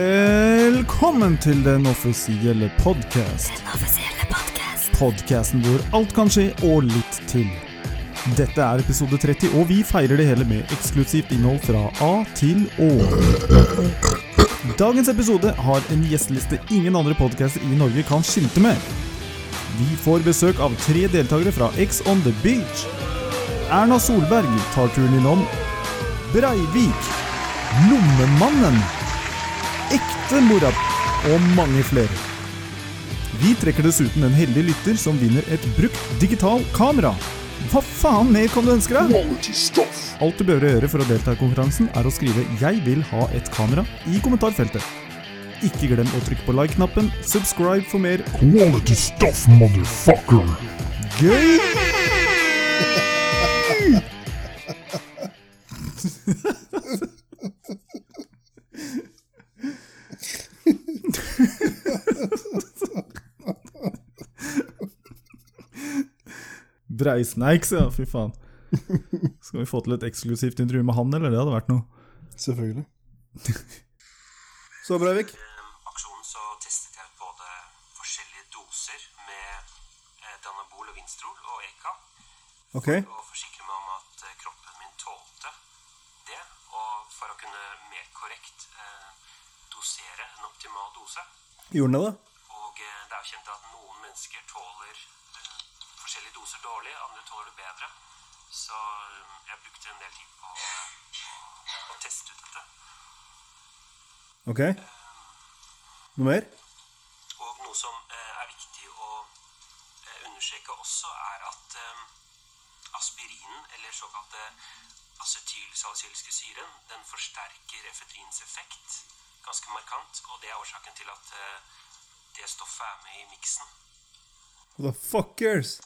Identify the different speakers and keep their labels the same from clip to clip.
Speaker 1: Velkommen til den offisielle podkast.
Speaker 2: offisielle podkast.
Speaker 1: Podkasten hvor alt kan skje, og litt til. Dette er episode 30, og vi feirer det hele med eksklusivt innhold fra A til Å. Dagens episode har en gjesteliste ingen andre podcaster i Norge kan skilte med. Vi får besøk av tre deltakere fra X on the Beach. Erna Solberg tar turen innom. Breivik. Lommemannen. Ekte mora. Og mange flere. Vi trekker dessuten en heldig lytter som vinner et brukt digital kamera. Hva faen mer kan du ønske deg? Alt du behøver å gjøre for å delta i konkurransen, er å skrive 'Jeg vil ha et kamera' i kommentarfeltet. Ikke glem å trykke på like-knappen, subscribe for mer
Speaker 3: Quality stuff, motherfucker!
Speaker 1: gøy! Breisneiks, ja. Fy faen. Skal vi få til et eksklusivt intervju med han, eller? Det hadde vært noe.
Speaker 4: Selvfølgelig. Så, Breivik.
Speaker 5: gjennom aksjonen så testet jeg ut både forskjellige doser med eh, Danabol og Vinstrol og Eka,
Speaker 4: Ok.
Speaker 5: og forsikre meg om at eh, kroppen min tålte det, og for å kunne mer korrekt eh, dosere en optimal dose.
Speaker 4: Gjorde den det, da?
Speaker 5: Og eh, det er jo kjent at noen mennesker tåler eh, forskjellige doser dårlig, andre tåler det bedre. Så eh, jeg brukte en del tid på å, å teste ut dette.
Speaker 4: Ok. Noe mer?
Speaker 5: Og noe som eh, er viktig å eh, understreke også, er at eh, aspirinen, eller såkalte acetylsalicylske syren, den forsterker efedrins effekt ganske markant. Og det er årsaken til at eh, det stoffet er med i miksen.
Speaker 4: Motherfuckers!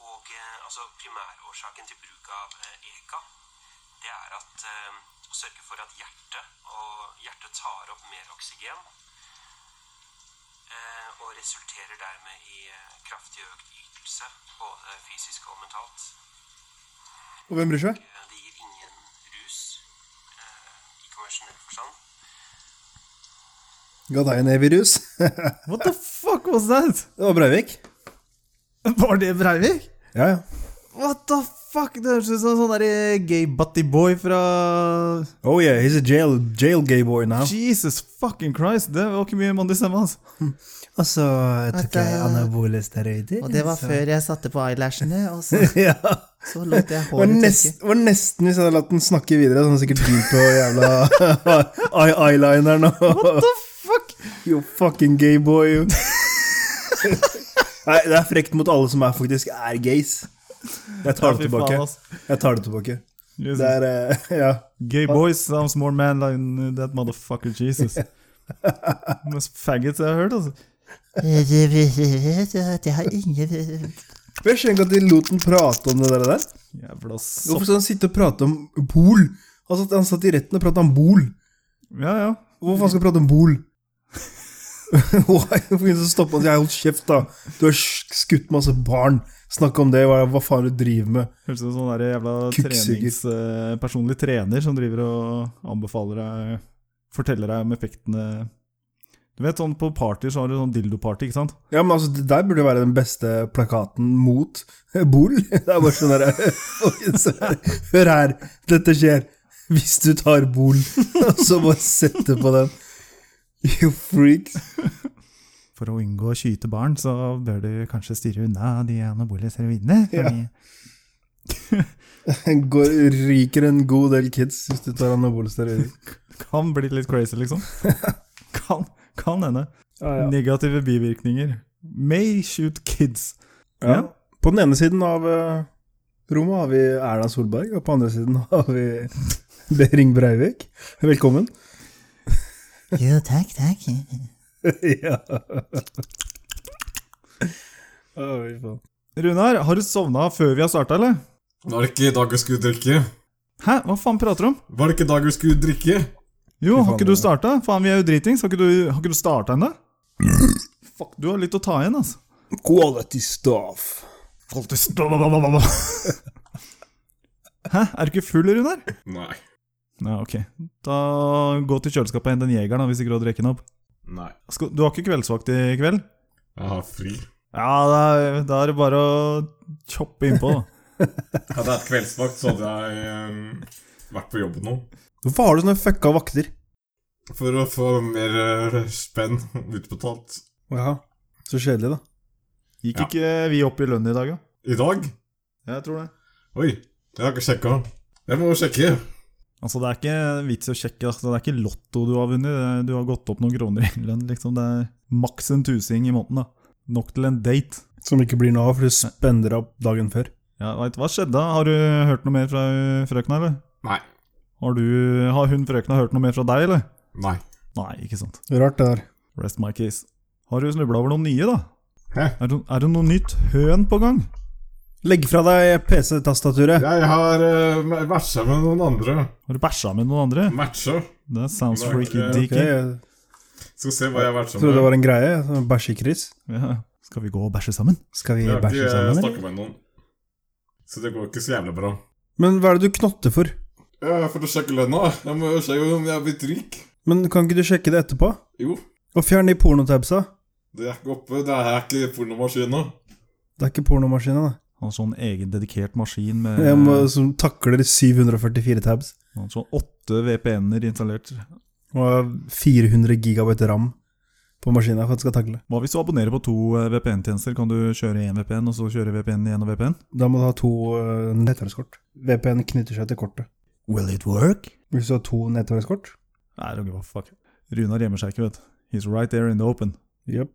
Speaker 5: Og eh, altså primærårsaken til bruk av eh, EKA, det er at eh, å sørge for at hjertet og hjertet tar opp mer oksygen. Eh, og resulterer dermed i eh, kraftig økt ytelse, både fysisk og mentalt.
Speaker 4: Og hvem bryr seg?
Speaker 5: Eh, Det gir ingen rus eh, i konvensjonell forstand.
Speaker 4: Ga deg en E-virus. det
Speaker 1: What the fuck was that?
Speaker 4: var Breivik.
Speaker 1: Var det Breivik?
Speaker 4: Ja, ja.
Speaker 1: What the fuck? Det høres ut som en sånn der gay butty boy fra
Speaker 4: Oh yeah, he's a jail, jail gay boy now.
Speaker 1: Jesus fucking Christ, det var ikke mye altså. mann i stemmen hans.
Speaker 4: Og så
Speaker 6: tok jeg
Speaker 1: eh,
Speaker 4: anabole steroider.
Speaker 6: Og det var før jeg satte på eyelashene, og så,
Speaker 4: ja.
Speaker 6: så lot jeg
Speaker 4: Det var,
Speaker 6: håret tørke.
Speaker 4: nest, var nesten hvis jeg hadde latt den snakke videre. Så hadde han sikkert begynt på jævla eye- eyelineren og What the fuck? You fucking gay boy, you. Nei, det er frekt mot alle som er, faktisk er gays. Jeg tar
Speaker 1: Ja, fy
Speaker 4: det
Speaker 1: faen, altså.
Speaker 4: tilbake.
Speaker 1: ass.
Speaker 4: Jeg tar det tilbake.
Speaker 1: Jesus.
Speaker 4: Det er eh, Ja.
Speaker 1: Gay boys sounds more man than that motherfucker Jesus. Mest faggots jeg har hørt, altså.
Speaker 6: Eh, Jeg har ingen
Speaker 4: Jeg skjønner ikke at de lot den prate om det der. der.
Speaker 1: Jævla sopp.
Speaker 4: Hvorfor skal han sitte og prate om Bol? Han satt, han satt i retten og prata om Bol.
Speaker 1: Ja, ja.
Speaker 4: Hvorfor faen skal jeg prate om Bol? Why? Hvorfor ingen som stopper meg? Jeg holdt kjeft, da. Du har sk- skutt masse barn. Snakk om det. Hva, hva faen du driver med?
Speaker 1: Høres ut som sånn der jævla
Speaker 4: Kukksugger.
Speaker 1: trenings, eh, personlig trener som driver og anbefaler deg Forteller deg om effektene Du vet, sånn på partyer så har du sånn dildoparty, ikke sant?
Speaker 4: Ja, men altså, det der burde jo være den beste plakaten mot Bol. Det er bare sånn derre Hør her, dette skjer. Hvis du tar Bol, og så bare sette på den. You freaks.
Speaker 1: For å unngå å skyte barn, så bør du kanskje styre unna de anabole steroidene.
Speaker 4: Ja.
Speaker 1: fordi-
Speaker 4: Går, ryker en god del kids hvis du tar anabole steroider.
Speaker 1: Kan bli litt crazy, liksom. kan, kan hende. Negative bivirkninger. May shoot kids.
Speaker 4: Ja. På den ene siden av eh, rommet har vi Erna Solberg, og på andre siden har vi Behring Breivik. Velkommen.
Speaker 6: Jo, takk, takk.
Speaker 4: ja. Å, fy faen.
Speaker 1: Runar, har du sovna før vi har starta, eller?
Speaker 7: Var det ikke i dag vi skulle drikke?
Speaker 1: Hæ, hva faen prater du om?
Speaker 7: Var det ikke i dag vi skulle drikke?
Speaker 1: Jo,
Speaker 4: Fy
Speaker 1: har
Speaker 4: faen,
Speaker 1: ikke du
Speaker 4: det-
Speaker 1: starta? Faen, vi er jo dritings. Har ikke du, har ikke du starta ennå? Fuck, du har litt å ta igjen, altså.
Speaker 4: Quality stuff.
Speaker 1: Hæ, er du ikke full, Runar?
Speaker 7: Nei.
Speaker 1: Ja, ok. Da gå til kjøleskapet og hent den jegeren, da, hvis ikke du har drukket den opp.
Speaker 7: Nei.
Speaker 1: Skal, du har ikke kveldsvakt i kveld?
Speaker 7: Jeg har fri.
Speaker 1: Ja, da, da er det bare å choppe innpå, da.
Speaker 7: Hadde jeg hatt kveldsvakt, så hadde jeg eh, vært på jobb nå.
Speaker 4: Hvorfor har du sånne fucka vakter?
Speaker 7: For å få mer eh, spenn utbetalt.
Speaker 4: Jaha. Så kjedelig, da.
Speaker 1: Gikk
Speaker 7: Ja.
Speaker 1: ikke vi opp i lønn i dag, da?
Speaker 7: I dag?
Speaker 1: Ja, jeg tror det.
Speaker 7: Oi, jeg har ikke sjekka. Jeg må jo sjekke.
Speaker 1: Altså, det er ikke vits i å sjekke, altså, det er ikke lotto du har vunnet, det er- du har gått opp noen kroner i lønn, liksom. Det er maks en tusing i måneden, da. Nok til en date.
Speaker 4: Som ikke blir noe av, for du spender deg opp dagen før.
Speaker 1: Ja, vet, du hva skjedde? da? Har du hørt noe mer fra frøkna, eller?
Speaker 7: Nei.
Speaker 1: Har, du, har hun frøkna hørt noe mer fra deg, eller?
Speaker 7: Nei.
Speaker 1: Nei, ikke sant.
Speaker 4: Rart det der.
Speaker 1: Rest my case. Har du snubla over noen nye, da?
Speaker 7: Hæ?
Speaker 1: Er det, er det noe nytt høn på gang?
Speaker 4: Legg fra deg PC-tastaturet.
Speaker 7: Jeg har eh, matcha med noen andre.
Speaker 1: Har du bæsja med noen andre?
Speaker 7: Matcha?
Speaker 1: Det sounds
Speaker 7: Nei,
Speaker 1: freaky
Speaker 7: det-
Speaker 1: dicky.
Speaker 4: Ok, jeg
Speaker 7: Skal se hva jeg har matcha
Speaker 4: trodde det
Speaker 7: med.
Speaker 4: var en greie. sånn Bæsjekris.
Speaker 1: Ja. Skal vi gå og bæsje sammen?
Speaker 4: Skal vi
Speaker 7: Jeg har
Speaker 4: bæsje
Speaker 7: ikke eh,
Speaker 4: sammen, eller?
Speaker 7: snakket med noen. Så det går ikke så jævlig bra.
Speaker 4: Men hva er det du knotter for?
Speaker 7: Ja, For å sjekke lønna. Jeg må jo sjekke om jeg er blitt rik.
Speaker 4: Men kan ikke du sjekke det etterpå?
Speaker 7: Jo,
Speaker 4: Og fjern de pornotabsa.
Speaker 7: det er ikke oppe. Det er ikke pornomaskina.
Speaker 4: Det er ikke pornomaskina, da.
Speaker 1: Han har sånn egen dedikert maskin med
Speaker 4: Jeg må,
Speaker 6: Eh.
Speaker 4: som takler 744 tabs.
Speaker 1: han har sånn åtte VPN-er installert.
Speaker 4: Og 400 gigabyte ram på maskina for at den skal takle.
Speaker 1: Hva hvis du abonnerer på to eh, VPN-tjenester? Kan du kjøre én VPN, og så kjøre VPN igjen og VPN?
Speaker 4: Da må du ha to eh, nettverkskort. VPN knytter seg til kortet.
Speaker 6: Will it work?
Speaker 4: Hvis du har to nettverkskort
Speaker 1: Nei, det er ikke hva fuck. Runar gjemmer seg ikke, vet du. He's right there in the open.
Speaker 4: Jep.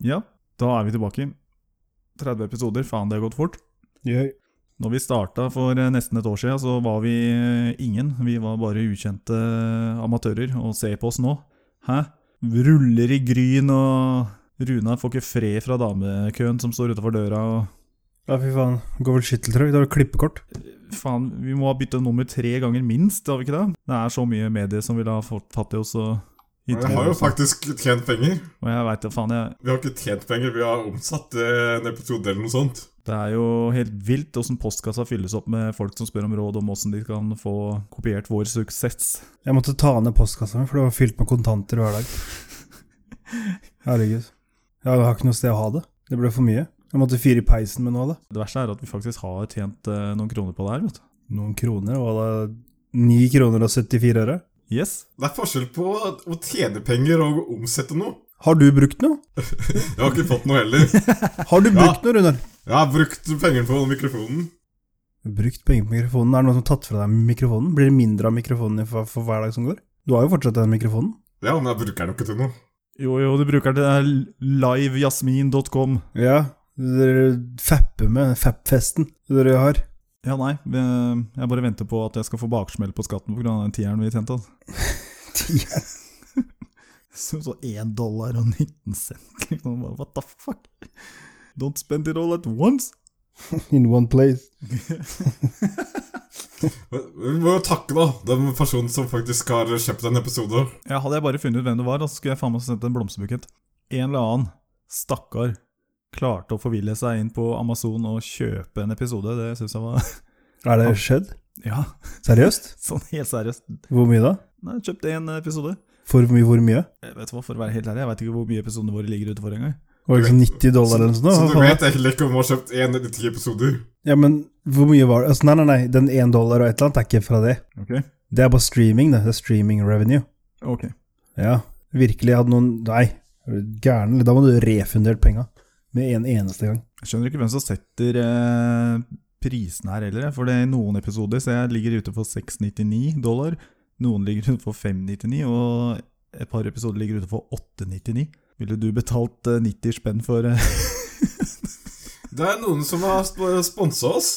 Speaker 1: Ja, da er vi tilbake. 30 episoder, faen det har gått fort.
Speaker 4: Jøy.
Speaker 1: Når vi starta for eh, nesten et år siden, så var vi eh, ingen. Vi var bare ukjente eh, amatører, og se på oss nå. Hæ? Ruller i gryn, og Runar får ikke fred fra damekøen som står utafor døra. og
Speaker 4: Ja, fy faen. Går vel skytteltrøkk? Da har du klippekort.
Speaker 1: Faen, vi må ha bytta nummer tre ganger minst, har vi ikke det? Det er så mye medier som ville ha fått fatt i oss. og
Speaker 7: Men jeg har jo faktisk tjent penger.
Speaker 1: Og jeg veit da faen, jeg
Speaker 7: Vi har ikke tjent penger, vi har omsatt eh, en episode eller noe sånt.
Speaker 1: Det er jo helt vilt åssen postkassa fylles opp med folk som spør om råd om åssen de kan få kopiert vår suksess.
Speaker 4: Jeg måtte ta ned postkassa mi, for det var fylt med kontanter hver dag. Herregud. Jeg har ikke noe sted å ha det. Det ble for mye. Jeg måtte fyre i peisen med noe av det.
Speaker 1: Det verste er at vi faktisk har tjent eh, noen kroner på det her, vet du.
Speaker 4: Noen kroner, var det 9 kroner og 74 øre?
Speaker 1: Yes.
Speaker 7: Det er forskjell på å tjene penger og å omsette noe.
Speaker 4: Har du brukt noe?
Speaker 7: Jeg har ikke fått noe heller.
Speaker 4: Har du brukt noe, Runar?
Speaker 7: Jeg har brukt penger på mikrofonen.
Speaker 4: Brukt penger på mikrofonen? Er det noen som har tatt fra deg mikrofonen? Blir det mindre av mikrofonen din for, for hver dag som går? Du har jo fortsatt den mikrofonen.
Speaker 7: Ja, men jeg bruker den jo ikke til noe.
Speaker 1: Jo, jo, du bruker det der livejasmin.com.
Speaker 4: Ja. Dere fapper med fappfesten dere har.
Speaker 1: Ja, nei, eh, jeg bare venter på at jeg skal få baksmell på skatten pga. den tieren vi tjente. altså. Så så én dollar og 19 cent, liksom. Bare, What the fuck? Don't spend it all at once.
Speaker 4: In one place.
Speaker 7: Men Vi må jo takke da, den personen som faktisk har kjøpt en episode.
Speaker 1: Ja, hadde jeg bare funnet ut hvem det var, da, så skulle jeg faen meg sendt en blomsterbukett. En eller annen stakkar klarte å forville seg inn på Amazon og kjøpe en episode. Det syns jeg var
Speaker 4: Er det skjedd?
Speaker 1: Ja,
Speaker 4: Seriøst?
Speaker 1: sånn helt seriøst.
Speaker 4: Hvor mye da?
Speaker 1: Nei, kjøpte én episode.
Speaker 4: For mye, hvor mye?
Speaker 1: Jeg vet hva, For å være helt ærlig, jeg vet ikke hvor mye episodene våre ligger ute for engang.
Speaker 4: Var det ikke sånn 90 dollar eller noe sånt? da?
Speaker 7: Så
Speaker 4: Hva
Speaker 7: du
Speaker 4: faen?
Speaker 7: vet egentlig ikke om hun har kjøpt én eller ti episoder.
Speaker 4: Ja, men hvor mye var det? Altså, nei, nei, nei, den 1 dollar og et eller annet er ikke fra det.
Speaker 1: Okay.
Speaker 4: Det er bare streaming, det. Det er streaming revenue.
Speaker 1: ok.
Speaker 4: Ja, virkelig hadde noen Nei, er du gæren? eller? Da må du refundert penga med en eneste gang.
Speaker 1: Jeg skjønner ikke hvem som setter eh, prisene her heller. jeg. For det er noen episoder så jeg ligger ute for 6,99 dollar. Noen ligger ute for 5,99, og et par episoder ligger ute for 8,99. Ville du betalt eh, 90 spenn for eh,
Speaker 7: Det er noen som har sp- sponset oss,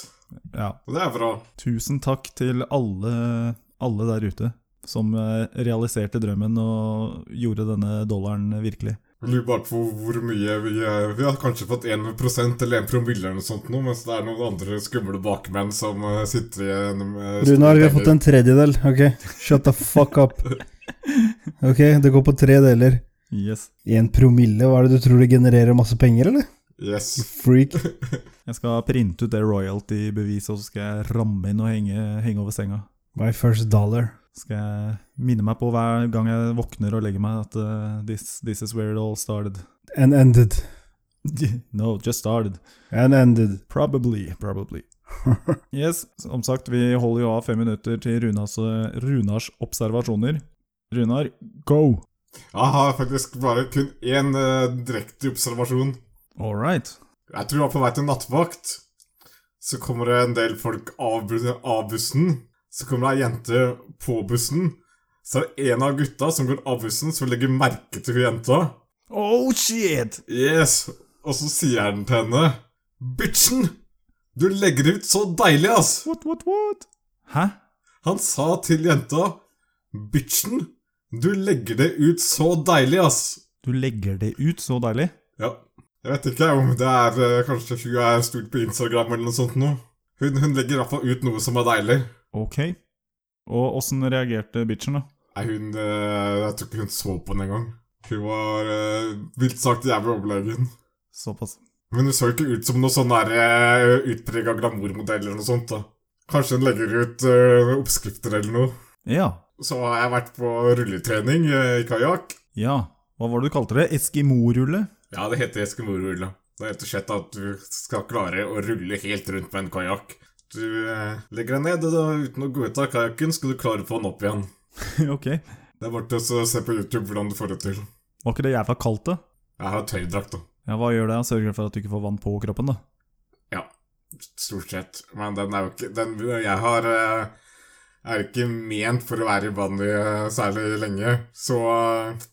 Speaker 1: Ja.
Speaker 7: og det er bra.
Speaker 1: Tusen takk til alle, alle der ute som eh, realiserte drømmen og gjorde denne dollaren virkelig.
Speaker 7: Jeg lurer bare på hvor mye vi eh, Vi har kanskje fått 1 eller 1 promille eller noe sånt nå, mens det er noen andre skumle bakmenn som eh, sitter eh, igjen med
Speaker 4: Runar, vi har fått en tredjedel. Ok, shut the fuck up. Ok, det går på tre deler.
Speaker 1: Yes.
Speaker 4: Én promille, hva er det du tror det genererer masse penger, eller?
Speaker 7: Yes.
Speaker 4: Freak.
Speaker 1: Jeg skal printe ut det royalty-beviset, og så skal jeg ramme inn og henge, henge over senga.
Speaker 4: My first dollar.
Speaker 1: Skal jeg minne meg på hver gang jeg våkner og legger meg at eh, this, this is where it all started.
Speaker 4: And ended.
Speaker 1: no, just started.
Speaker 4: And ended.
Speaker 1: Probably, probably. Yes, som sagt, vi holder jo av fem minutter til Runars, uh, Runars observasjoner. Runar, go!
Speaker 7: Jeg har faktisk bare kun én eh, direkte observasjon.
Speaker 1: All right.
Speaker 7: Jeg tror jeg var på vei til nattvakt. Så kommer det en del folk av, bu- av bussen. Så kommer det ei jente på bussen. Så er det en av gutta som går av bussen, som legger merke til jenta.
Speaker 1: Oh shit!
Speaker 7: Yes! Og så sier han til henne Bitchen! Du legger ut så deilig, ass!
Speaker 1: What, what, what? Hæ?
Speaker 7: Han sa til jenta Bitchen! Du legger det ut så deilig, ass!
Speaker 1: Du legger det ut så deilig.
Speaker 7: Ja. Jeg vet ikke om det er eh, Kanskje hun er stort på Instagram eller noe sånt nå. Hun, hun legger i hvert fall ut noe som er deilig.
Speaker 1: Ok. Og åssen reagerte bitchen, da?
Speaker 7: Nei, hun eh, Jeg tror ikke hun så på den engang. Hun var eh, vilt sagt jævlig overlegen.
Speaker 1: Såpass.
Speaker 7: Men hun så jo ikke ut som noe sånn der utprega glamourmodell eller noe sånt, da. Kanskje hun legger ut eh, oppskrifter eller noe.
Speaker 1: Ja.
Speaker 7: Så har jeg vært på rulletrening eh, i kajakk.
Speaker 1: Ja. Hva var det du kalte det? Eskimo-rulle?
Speaker 7: Ja, det heter eskimorulle. Det er rett og slett at du skal klare å rulle helt rundt med en kajakk. Du eh, legger deg ned, og da, uten å gå ut av kajakken skal du klare å få den opp igjen.
Speaker 1: ok.
Speaker 7: Det er bare til å se- se på YouTube hvordan du får det til.
Speaker 1: Var ikke det jævla kaldt, da?
Speaker 7: Jeg har tøydrakt, da.
Speaker 1: Ja, hva gjør det? Sørger for at du ikke får vann på kroppen, da?
Speaker 7: Stort sett. Men den er jo ikke den, Jeg har eh, er jo ikke ment for å være i vannet eh, særlig lenge, så eh,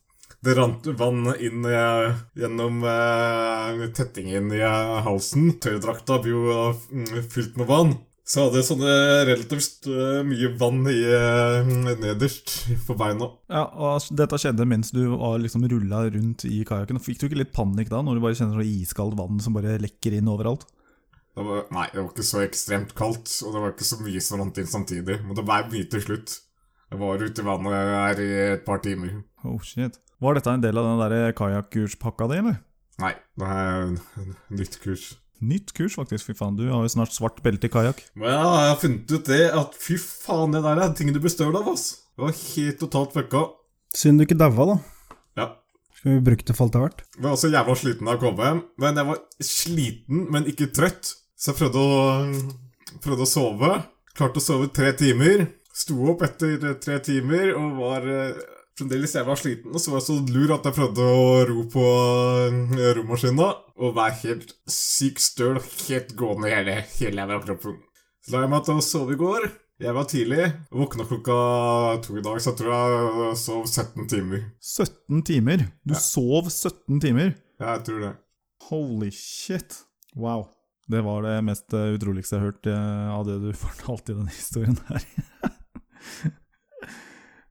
Speaker 7: det rant vann inn eh, gjennom eh, tettingen i eh, halsen. Tørrdrakta ble jo eh, f- mm, fylt med vann. Så jeg hadde sånne relativt eh, mye vann i, eh, nederst på beina.
Speaker 1: Ja, og altså, Dette skjedde mens du var liksom rulla rundt i kajakken. Fikk du ikke litt panikk da, når du bare kjenner så iskaldt vann som bare lekker inn overalt?
Speaker 7: Det var, nei, det var ikke så ekstremt kaldt, og det var ikke så mye som rant inn samtidig. Men det var mye til slutt. Jeg var ute i vannet her i et par timer.
Speaker 1: Oh shit. Var dette en del av den der kajakkurspakka di, eller?
Speaker 7: Nei, det er nytt kurs.
Speaker 1: Nytt kurs, faktisk. Fy faen, du har jo snart svart belte i kajakk.
Speaker 7: Men ja, jeg har funnet ut det at fy faen, det der er ting du blir støl av, ass. Det var helt totalt fucka.
Speaker 4: Synd du ikke daua, da.
Speaker 7: Ja.
Speaker 4: Skulle vi brukt det for alt det er verdt.
Speaker 7: Jeg var også jævla sliten av å komme hjem, men jeg var sliten, men ikke trøtt. Så jeg prøvde å, prøvde å sove. Klarte å sove tre timer. Sto opp etter tre timer og var eh, fremdeles jævla sliten. Og så var jeg så lur at jeg prøvde å ro på eh, romaskina og være helt sykt støl, helt gående hele, hele jævla kroppen. Så la jeg meg til å sove i går. Jeg var tidlig. Våkna klokka to i dag, så jeg tror jeg sov 17 timer.
Speaker 1: 17 timer! Du sov 17 timer!
Speaker 7: Ja, jeg tror det.
Speaker 1: Holy shit. Wow. Det var det mest eh, utroligste jeg har hørt eh, av det du fortalte i denne historien her.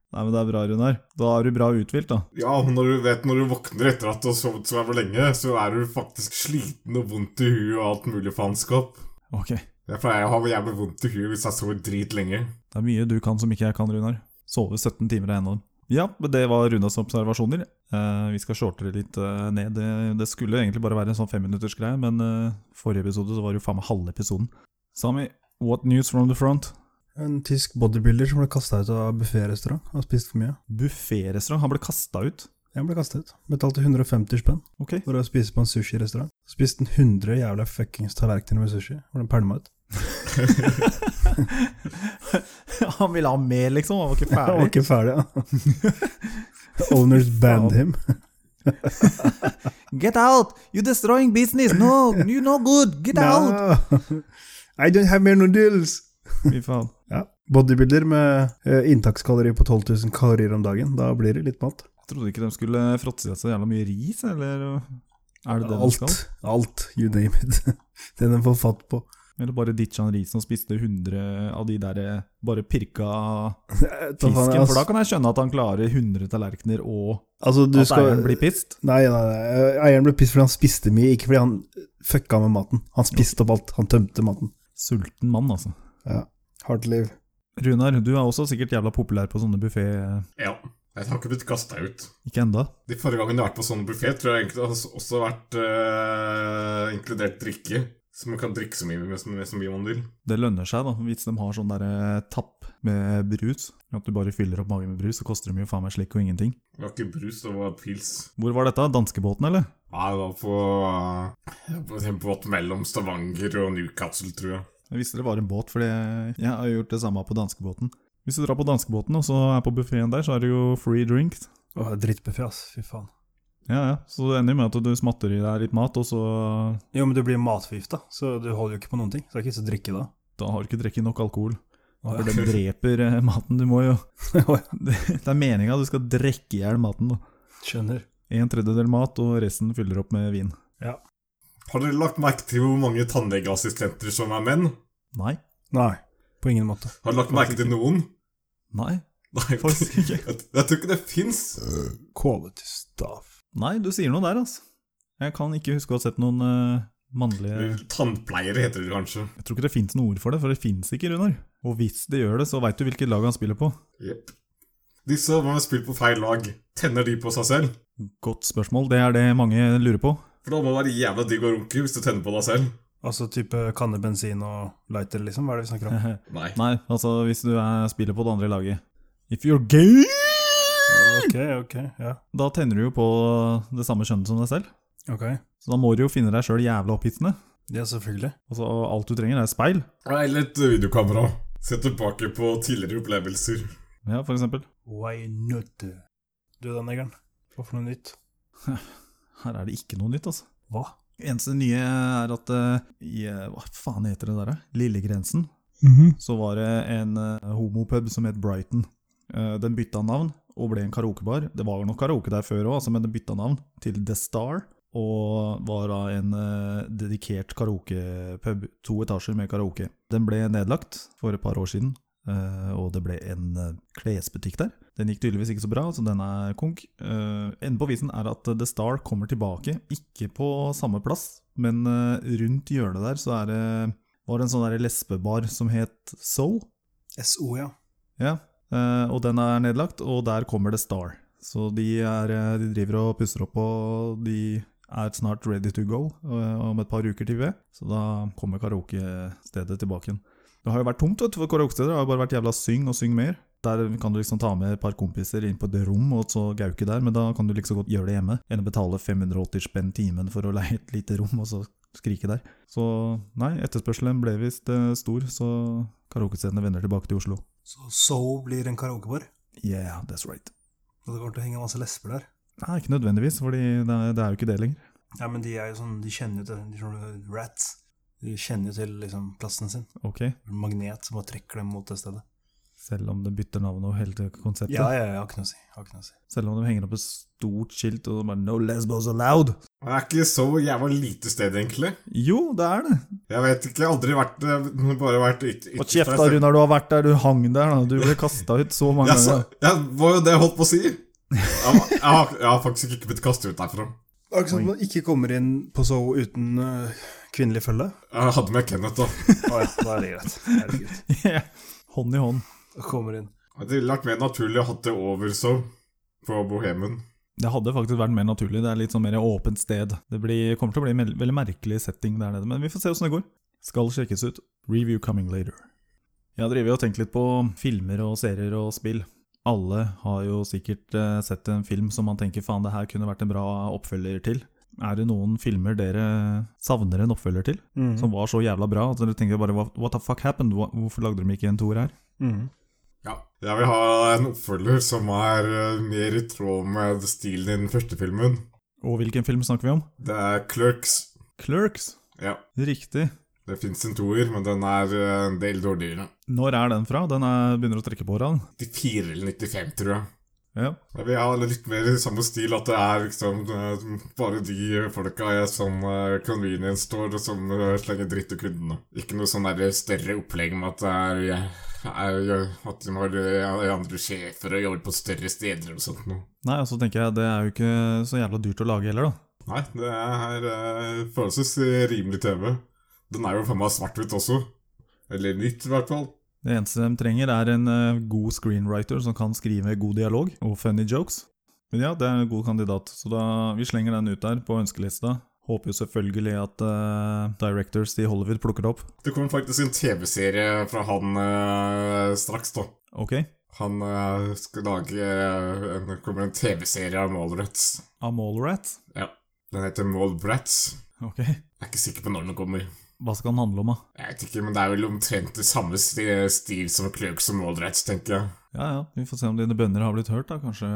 Speaker 1: Nei, men det er bra, Runar. Da er du bra uthvilt, da.
Speaker 7: Ja, og når du vet når du våkner etter at du har sovet så jævlig lenge, så er du faktisk sliten og vondt i huet og alt mulig faenskap.
Speaker 1: Ok. Det
Speaker 7: Jeg pleier å ha jævlig vondt i huet hvis jeg sover dritlenge.
Speaker 1: er mye du kan som ikke jeg kan, Runar. Sove 17 timer er en av dem. Ja, men det var Runars observasjoner. Eh, vi skal shorte det litt eh, ned. Det, det skulle egentlig bare være en sånn femminuttersgreie, men eh, forrige episode så var det jo faen meg halve episoden. Sami, what news from the front?
Speaker 4: En tysk bodybuilder som ble kasta ut av bufférestaurant. Han spiste for mye.
Speaker 1: Bufférestaurant, han ble kasta ut.
Speaker 4: Jeg ble kastet ut. Betalte 150 spenn
Speaker 1: Ok.
Speaker 4: for å spise på en sushirestaurant. Spiste en 100 jævla fuckings tallerkener med sushi. Hvor den pælma ut.
Speaker 1: Han ville ha mer, liksom. Han var ikke
Speaker 4: Han var
Speaker 1: ferdig.
Speaker 4: ikke ferdig, ja. Owners banned him.
Speaker 6: Get out! You destroying business! No, you no good! Get out!
Speaker 4: No. I don't have mere noodles!
Speaker 1: Fy faen.
Speaker 4: Ja. Bodybuilder med eh, inntakskalori på 12 000 kalorier om dagen. Da blir det litt mat.
Speaker 1: Jeg trodde ikke de skulle fråtse i seg så jævla mye ris, eller er det det de skal?
Speaker 4: Alt. Alt. You name it. Det den får fatt på.
Speaker 1: Eller bare ditcha han risen og spiste 100 av de der eh, bare pirka
Speaker 4: Ta faen,
Speaker 1: fisken?
Speaker 4: ass.
Speaker 1: For da kan jeg skjønne at han klarer 100 tallerkener og
Speaker 4: Altså, du
Speaker 1: at
Speaker 4: skal
Speaker 1: eieren blir pissed.
Speaker 4: Nei, nei, nei. eieren ble pissed fordi han spiste mye, ikke fordi han fucka med maten. Han spiste opp alt, han tømte maten.
Speaker 1: Sulten mann, altså.
Speaker 4: Hardt liv.
Speaker 1: Runar, du er også sikkert jævla populær på sånne buffé
Speaker 7: Ja. Jeg har ikke blitt kasta ut.
Speaker 1: Ikke enda.
Speaker 7: De forrige gangene jeg har vært på sånn buffé, tror jeg egentlig det har også vært eh, inkludert drikke. Så man kan drikke så mye, med så med så mye man vil.
Speaker 1: Det lønner seg, da, hvis de har sånn der eh, tapp med brus. At du bare fyller opp magen med brus, så koster det mye faen meg slikk og ingenting.
Speaker 7: Det var ikke brus, det var pils.
Speaker 1: Hvor var dette? Danskebåten, eller?
Speaker 7: Nei, det var på, eh, på en båt mellom Stavanger og Newcastle, tror jeg.
Speaker 1: Jeg visste det var en båt, fordi jeg har gjort det samme på danskebåten. Hvis du drar på danskebåten og så er på buffeen der, så er det jo free drink.
Speaker 4: Åh, Drittbuffé, ass. Fy faen.
Speaker 1: Ja, ja. Så det ender jo med at du smatter i deg litt mat, og så
Speaker 4: Jo, men du blir matforgifta, så du holder jo ikke på noen ting. Så det er ikke så drikke da.
Speaker 1: Da har du ikke drukket nok alkohol.
Speaker 4: Åh,
Speaker 1: For
Speaker 4: ja.
Speaker 1: den dreper eh, maten. Du må jo
Speaker 4: Åh, ja.
Speaker 1: Det det er meninga du skal drikke i hjel maten, da.
Speaker 4: Skjønner.
Speaker 1: En tredjedel mat, og resten fyller opp med vin.
Speaker 7: Har dere lagt merke til hvor mange tannlegeassistenter som er menn?
Speaker 1: Nei.
Speaker 4: Nei, på ingen måte.
Speaker 7: Har dere lagt merke til noen?
Speaker 1: Nei.
Speaker 7: Nei,
Speaker 1: Faktisk ikke.
Speaker 7: Jeg, jeg tror ikke det fins.
Speaker 4: Eh, Kålete staff.
Speaker 1: Nei, du sier noe der, altså. Jeg kan ikke huske å ha sett noen eh, mannlige
Speaker 7: Tannpleiere heter det kanskje.
Speaker 1: Jeg tror ikke det fins noe ord for det, for det fins ikke, Runar. Og hvis det gjør det, så veit du hvilket lag han spiller på.
Speaker 7: Jepp. Disse har spilt på feil lag. Tenner de på seg selv?
Speaker 1: Godt spørsmål, det er det mange lurer på.
Speaker 7: For da må det være jævla digg å runke hvis du tenner på deg selv.
Speaker 4: Altså type kanne bensin og lighter, liksom? Hva er det vi snakker om?
Speaker 7: Nei.
Speaker 1: Nei, altså hvis du er, spiller på det andre laget If you're gay,
Speaker 4: Ok, ok, ja.
Speaker 1: da tenner du jo på det samme kjønnet som deg selv.
Speaker 4: Ok.
Speaker 1: Så da må du jo finne deg sjøl jævla opphittende.
Speaker 4: Ja, selvfølgelig.
Speaker 1: Altså, alt du trenger, er et speil.
Speaker 7: Eller et videokamera. Se tilbake på tidligere opplevelser.
Speaker 1: Ja, for eksempel.
Speaker 4: Why not? Du, den negeren. Hva for noe nytt?
Speaker 1: Her er det ikke noe nytt, altså.
Speaker 4: Hva?
Speaker 1: Eneste nye er at eh, i eh, Hva faen heter det der, da? Lillegrensen. Så var det en eh, homopub som het Brighton. Eh, den bytta navn og ble en karaokebar. Det var nok karaoke der før òg, altså, men den bytta navn til The Star. Og var da en eh, dedikert karaokepub. To etasjer med karaoke. Den ble nedlagt for et par år siden, eh, og det ble en eh, klesbutikk der. Den gikk tydeligvis ikke så bra, så den er konk. Uh, Enden på visen er at The Star kommer tilbake, ikke på samme plass, men eh, rundt hjørnet der så er det, var det en sånn der lesbebar som het Soul.
Speaker 4: SO, ja.
Speaker 1: Ja, eh, og den er nedlagt, og der kommer The Star. Så de, er, eh, de driver og pusser opp, og de er snart ready to go eh, om et par uker til vi. Så da kommer karaokestedet tilbake igjen. Det har jo vært tomt, vet du, for karaokesteder har jo bare vært jævla syng og syng mer. Der kan du liksom ta med et par kompiser inn på et rom og så gauke der, men da kan du like så godt gjøre det hjemme enn å betale 580 spenn timen for å leie et lite rom og så skrike der. Så nei, etterspørselen ble visst eh, stor, så karaokestedene vender tilbake til Oslo.
Speaker 4: Så SO blir en karaokebar?
Speaker 1: Yeah, that's right.
Speaker 4: Og det kommer til å henge masse lesber der?
Speaker 1: Nei, ikke nødvendigvis, fordi det er, det er jo ikke det lenger.
Speaker 4: Ja, men de er jo sånn, de kjenner jo til de sånne rats. De kjenner jo til liksom plassen sin.
Speaker 1: Ok,
Speaker 4: En magnet som bare trekker dem mot det stedet.
Speaker 1: Selv om de bytter navn og hele konseptet.
Speaker 4: Ja, ja, ja, har ikke noe å si. Har ikke noe å si.
Speaker 1: Selv om de henger opp et stort skilt og bare 'No lesbos allowed'.
Speaker 7: Det er ikke så jævla lite sted, egentlig.
Speaker 1: Jo, det er det.
Speaker 7: Jeg vet ikke, jeg har aldri vært eh, Bare vært yt-
Speaker 1: Og
Speaker 7: ytterst
Speaker 1: kjeft da,
Speaker 7: der.
Speaker 1: Runar, du har vært der, du hang der, da. Du ble kasta ut så mange
Speaker 7: Jeg sa-
Speaker 1: ganger.
Speaker 7: Jeg var jo det jeg holdt på å si. Jeg, jeg, har, jeg har faktisk ikke blitt kastet ut derfra.
Speaker 4: Er det ikke sånn at man ikke kommer inn på SO uten øh, kvinnelig følge?
Speaker 7: Jeg hadde med Kenneth, da.
Speaker 4: Å ja, da er det greit. Herregud.
Speaker 1: Ja. hånd i hånd.
Speaker 4: Da Kommer inn.
Speaker 7: Det ville vært mer naturlig å hatt det over så, på Bohemen.
Speaker 1: Det hadde faktisk vært mer naturlig. Det er litt sånn mer åpent sted. Det blir, kommer til å bli en mel- veldig merkelig setting der nede, men vi får se åssen det går. Skal sjekkes ut. Review coming later. Jeg har drevet og tenkt litt på filmer og serier og spill. Alle har jo sikkert eh, sett en film som man tenker faen, det her kunne vært en bra oppfølger til. Er det noen filmer dere savner en oppfølger til, som var så jævla bra at dere tenker bare what, what the fuck happened, Hva- hvorfor lagde de ikke en toer her?
Speaker 4: Mm.
Speaker 7: Ja. Jeg vil ha en oppfølger som er eh, mer i tråd med stilen i den første filmen.
Speaker 1: Og hvilken film snakker vi om?
Speaker 7: Det er Clerks.
Speaker 1: Clerks!
Speaker 7: Ja.
Speaker 1: Riktig.
Speaker 7: Det fins en toer, men den er eh, en del dårligere.
Speaker 1: Når er den fra? Den er, begynner å trekke på åra.
Speaker 7: 94 eller 95, tror jeg.
Speaker 1: Ja.
Speaker 7: Jeg vil ha litt mer i samme stil, at det er liksom eh, bare de folka jeg som eh, convenience står og som eh, slenger dritt til kundene. Ikke noe sånn der større opplegg med at eh, det er, er At de har eh, andre sjefer og jobber på større steder og sånt noe.
Speaker 1: Nei, og så tenker jeg det er jo ikke så jævla dyrt å lage heller, da.
Speaker 7: Nei, det er eh, forholdsvis rimelig TV. Den er jo faen meg svart-hvitt også. Eller nytt, i hvert fall.
Speaker 1: Det eneste de trenger, er en eh, god screenwriter som kan skrive god dialog og funny jokes. Men ja, det er en god kandidat, så da vi slenger den ut der på ønskelista. Håper jo selvfølgelig at eh, directors i Hollywood plukker det opp.
Speaker 7: Det kommer faktisk en TV-serie fra han eh, straks, da.
Speaker 1: Ok,
Speaker 7: Han eh, skal lage eh, en, Det kommer en TV-serie av Mallrats.
Speaker 1: Amallrat.
Speaker 7: Ja. Den heter Mallbrats.
Speaker 1: Ok,
Speaker 7: Jeg er ikke sikker på når den kommer.
Speaker 1: hva skal den handle om da?
Speaker 7: Jeg vet ikke, men Det er vel omtrent det samme sti- stil som Clerks og Mallrats, tenker jeg.
Speaker 1: Ja, ja, vi får se om dine bønner har blitt hørt da, kanskje,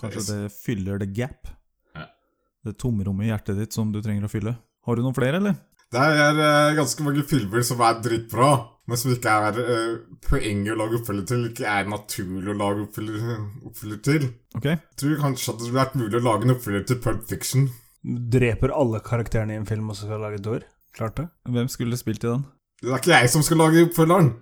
Speaker 1: kanskje
Speaker 7: Yes.
Speaker 1: det fyller det gap.
Speaker 7: Ja.
Speaker 1: Det tomrommet i hjertet ditt som du trenger å fylle. Har du noen flere, eller?
Speaker 7: Det er eh, ganske mange filmer som er dritbra, men som ikke er eh, poenget å lage oppfølger til. Ikke er naturlig å lage oppfølger, oppfølger til.
Speaker 1: Ok,
Speaker 7: Jeg tror kanskje at det ville vært mulig å lage en oppfølger til Pulp Fiction.
Speaker 4: Dreper alle karakterene i en film og så skal lage et år? Klart det.
Speaker 1: hvem skulle spilt i den?
Speaker 7: Det er ikke jeg som skal lage oppfølgeren!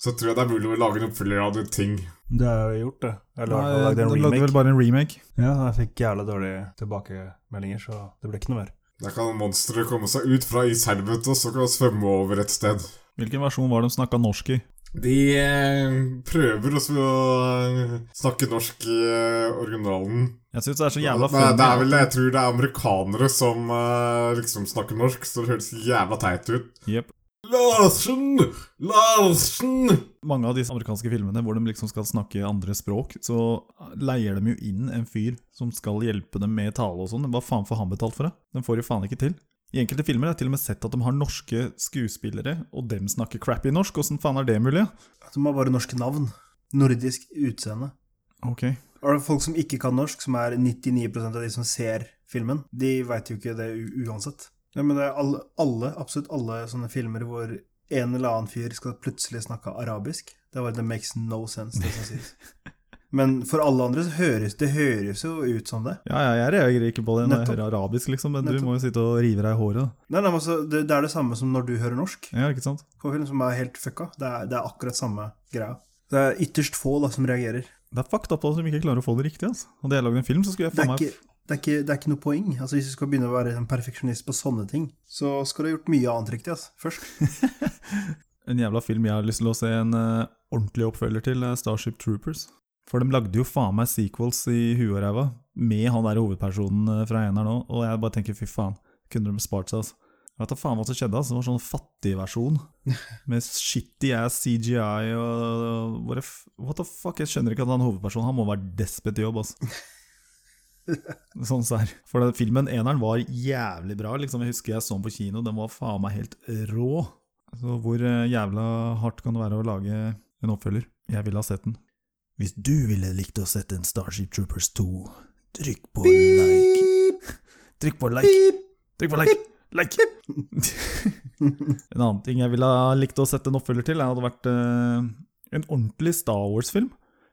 Speaker 7: Så tror jeg det er mulig å lage en oppfølger av det ting.
Speaker 4: Det har jeg gjort, det. Eller i hvert fall
Speaker 1: Nei,
Speaker 4: lagd en
Speaker 1: den lagde
Speaker 4: remake.
Speaker 1: vel bare en remake.
Speaker 4: Ja, jeg fikk jævla dårlige tilbakemeldinger, så det ble ikke noe mer.
Speaker 7: Der kan monsteret komme seg ut fra ishelvetet og så kan det svømme over et sted.
Speaker 1: Hvilken versjon var det de snakket norsk i?
Speaker 7: De eh, prøver også å eh, snakke norsk i eh, originalen.
Speaker 1: Jeg synes det er så
Speaker 7: Det,
Speaker 1: jævla
Speaker 7: det,
Speaker 1: funny.
Speaker 7: er vel, Jeg tror det er amerikanere som eh, liksom snakker norsk, så det høres jævla teit ut.
Speaker 1: Jep.
Speaker 7: Larsen! Larsen!
Speaker 1: Mange av disse amerikanske filmene hvor de liksom skal snakke andre språk, så leier de jo inn en fyr som skal hjelpe dem med tale og sånn. Hva faen får han betalt for det? De får jo faen ikke til. I enkelte filmer har jeg til og med sett at de har norske skuespillere, og dem snakker crappy norsk. Åssen faen er det mulig?
Speaker 4: De har bare norske navn. Nordisk utseende.
Speaker 1: Ok.
Speaker 4: Er det folk som ikke kan norsk, som er 99 av de som ser filmen? De veit jo ikke det u uansett. Ja, men det er alle, alle, absolutt alle sånne filmer hvor en eller annen fyr skal plutselig snakke arabisk. Det er bare det makes no sense, det som sies. Men for alle andre så høres det høres jo ut som det.
Speaker 1: Ja, ja, jeg reagerer ikke på det når jeg
Speaker 4: Nettopp.
Speaker 1: hører arabisk, liksom, men
Speaker 4: Nettopp.
Speaker 1: du må jo sitte og rive deg i håret. da.
Speaker 4: Nei, nei, men altså, det, det er det samme som når du hører norsk.
Speaker 1: Ja, ikke sant?
Speaker 4: På film som er helt fucka. Det er, det er akkurat samme greia. Det er ytterst få da som reagerer.
Speaker 1: Det er fucked up at de ikke klarer å få det riktig. altså. Hadde jeg lagd en film, så skulle jeg
Speaker 4: Det
Speaker 1: faen
Speaker 4: er,
Speaker 1: meg
Speaker 4: ikke, det, er ikke, det er ikke noe poeng. Altså, hvis du skal begynne å være en perfeksjonist på sånne ting, så skal du ha gjort mye annet riktig altså, først.
Speaker 1: en jævla film jeg har lyst til å se en eh, ordentlig oppfølger til, er Starship Troopers. For de lagde jo faen meg sequels i huet og ræva, med han der hovedpersonen eh, fra eneren òg, og jeg bare tenker fy faen, kunne de spart seg, altså. Jeg vet da faen hva som skjedde, altså. Det var sånn fattig versjon, med shitty ass CGI og, og hvor det f- What the fuck, jeg skjønner ikke at han hovedpersonen, han må være despet i jobb, altså. Sånn sær. For den filmen, eneren, var jævlig bra, liksom. Jeg husker jeg så den på kino, den var faen meg helt rå. Så hvor eh, jævla hardt kan det være å lage en oppfølger? Jeg ville ha sett den. Hvis du ville likt å sette en Starship Troopers 2, trykk på like. Trykk på like. Trykk på like. Like. en annen ting jeg ville ha likt å sette en oppfølger til, hadde vært eh, en ordentlig Star Wars-film.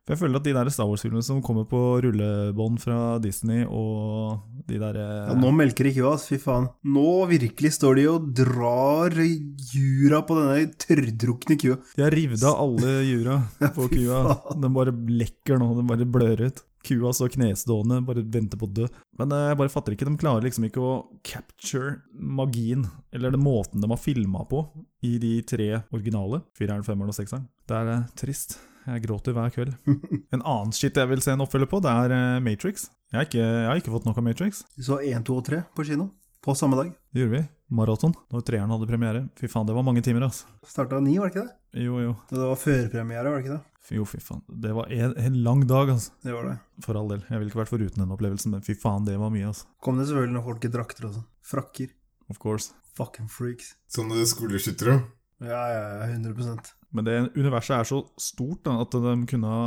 Speaker 1: For jeg føler at de der Star Wars-filmene som kommer på rullebånd fra Disney og de der eh,
Speaker 4: Ja, nå melker ikke oss, fy faen. Nå virkelig står de og drar jura på denne tørrdrukne kua.
Speaker 1: De har revet av alle jura på
Speaker 4: fy
Speaker 1: kua.
Speaker 4: faen.
Speaker 1: Den bare lekker nå, den bare blør ut. Kua står knestående, bare venter på å dø. Men eh, jeg bare fatter ikke, de klarer liksom ikke å capture magien, eller den måten de har filma på, i de tre originale. Fireren, femmeren og sekseren. Det er eh, trist. Jeg gråter hver kveld. En annen shit jeg vil se en oppfølger på, det er eh, Matrix. Jeg har ikke, jeg har ikke fått nok av Matrix.
Speaker 4: Så 1, 2 og 3 på kino på samme dag.
Speaker 1: Det gjorde vi. Maraton, når treeren hadde premiere. Fy faen, det var mange timer, altså.
Speaker 4: Starta ni, var det ikke det?
Speaker 1: Jo, jo.
Speaker 4: Det var førpremiere, var det ikke det?
Speaker 1: Jo, fy faen. Det var en, en lang dag, altså.
Speaker 4: Det var det.
Speaker 1: For all del. Jeg ville ikke vært foruten den opplevelsen, men fy faen, det var mye, altså.
Speaker 4: Kom det selvfølgelig noen folk i drakter og sånn. Frakker.
Speaker 1: Of course.
Speaker 4: Fucking freaks.
Speaker 7: Sånne skoleskyttere.
Speaker 4: Ja, ja, ja, 100
Speaker 1: Men det universet er så stort da, at de kunne ha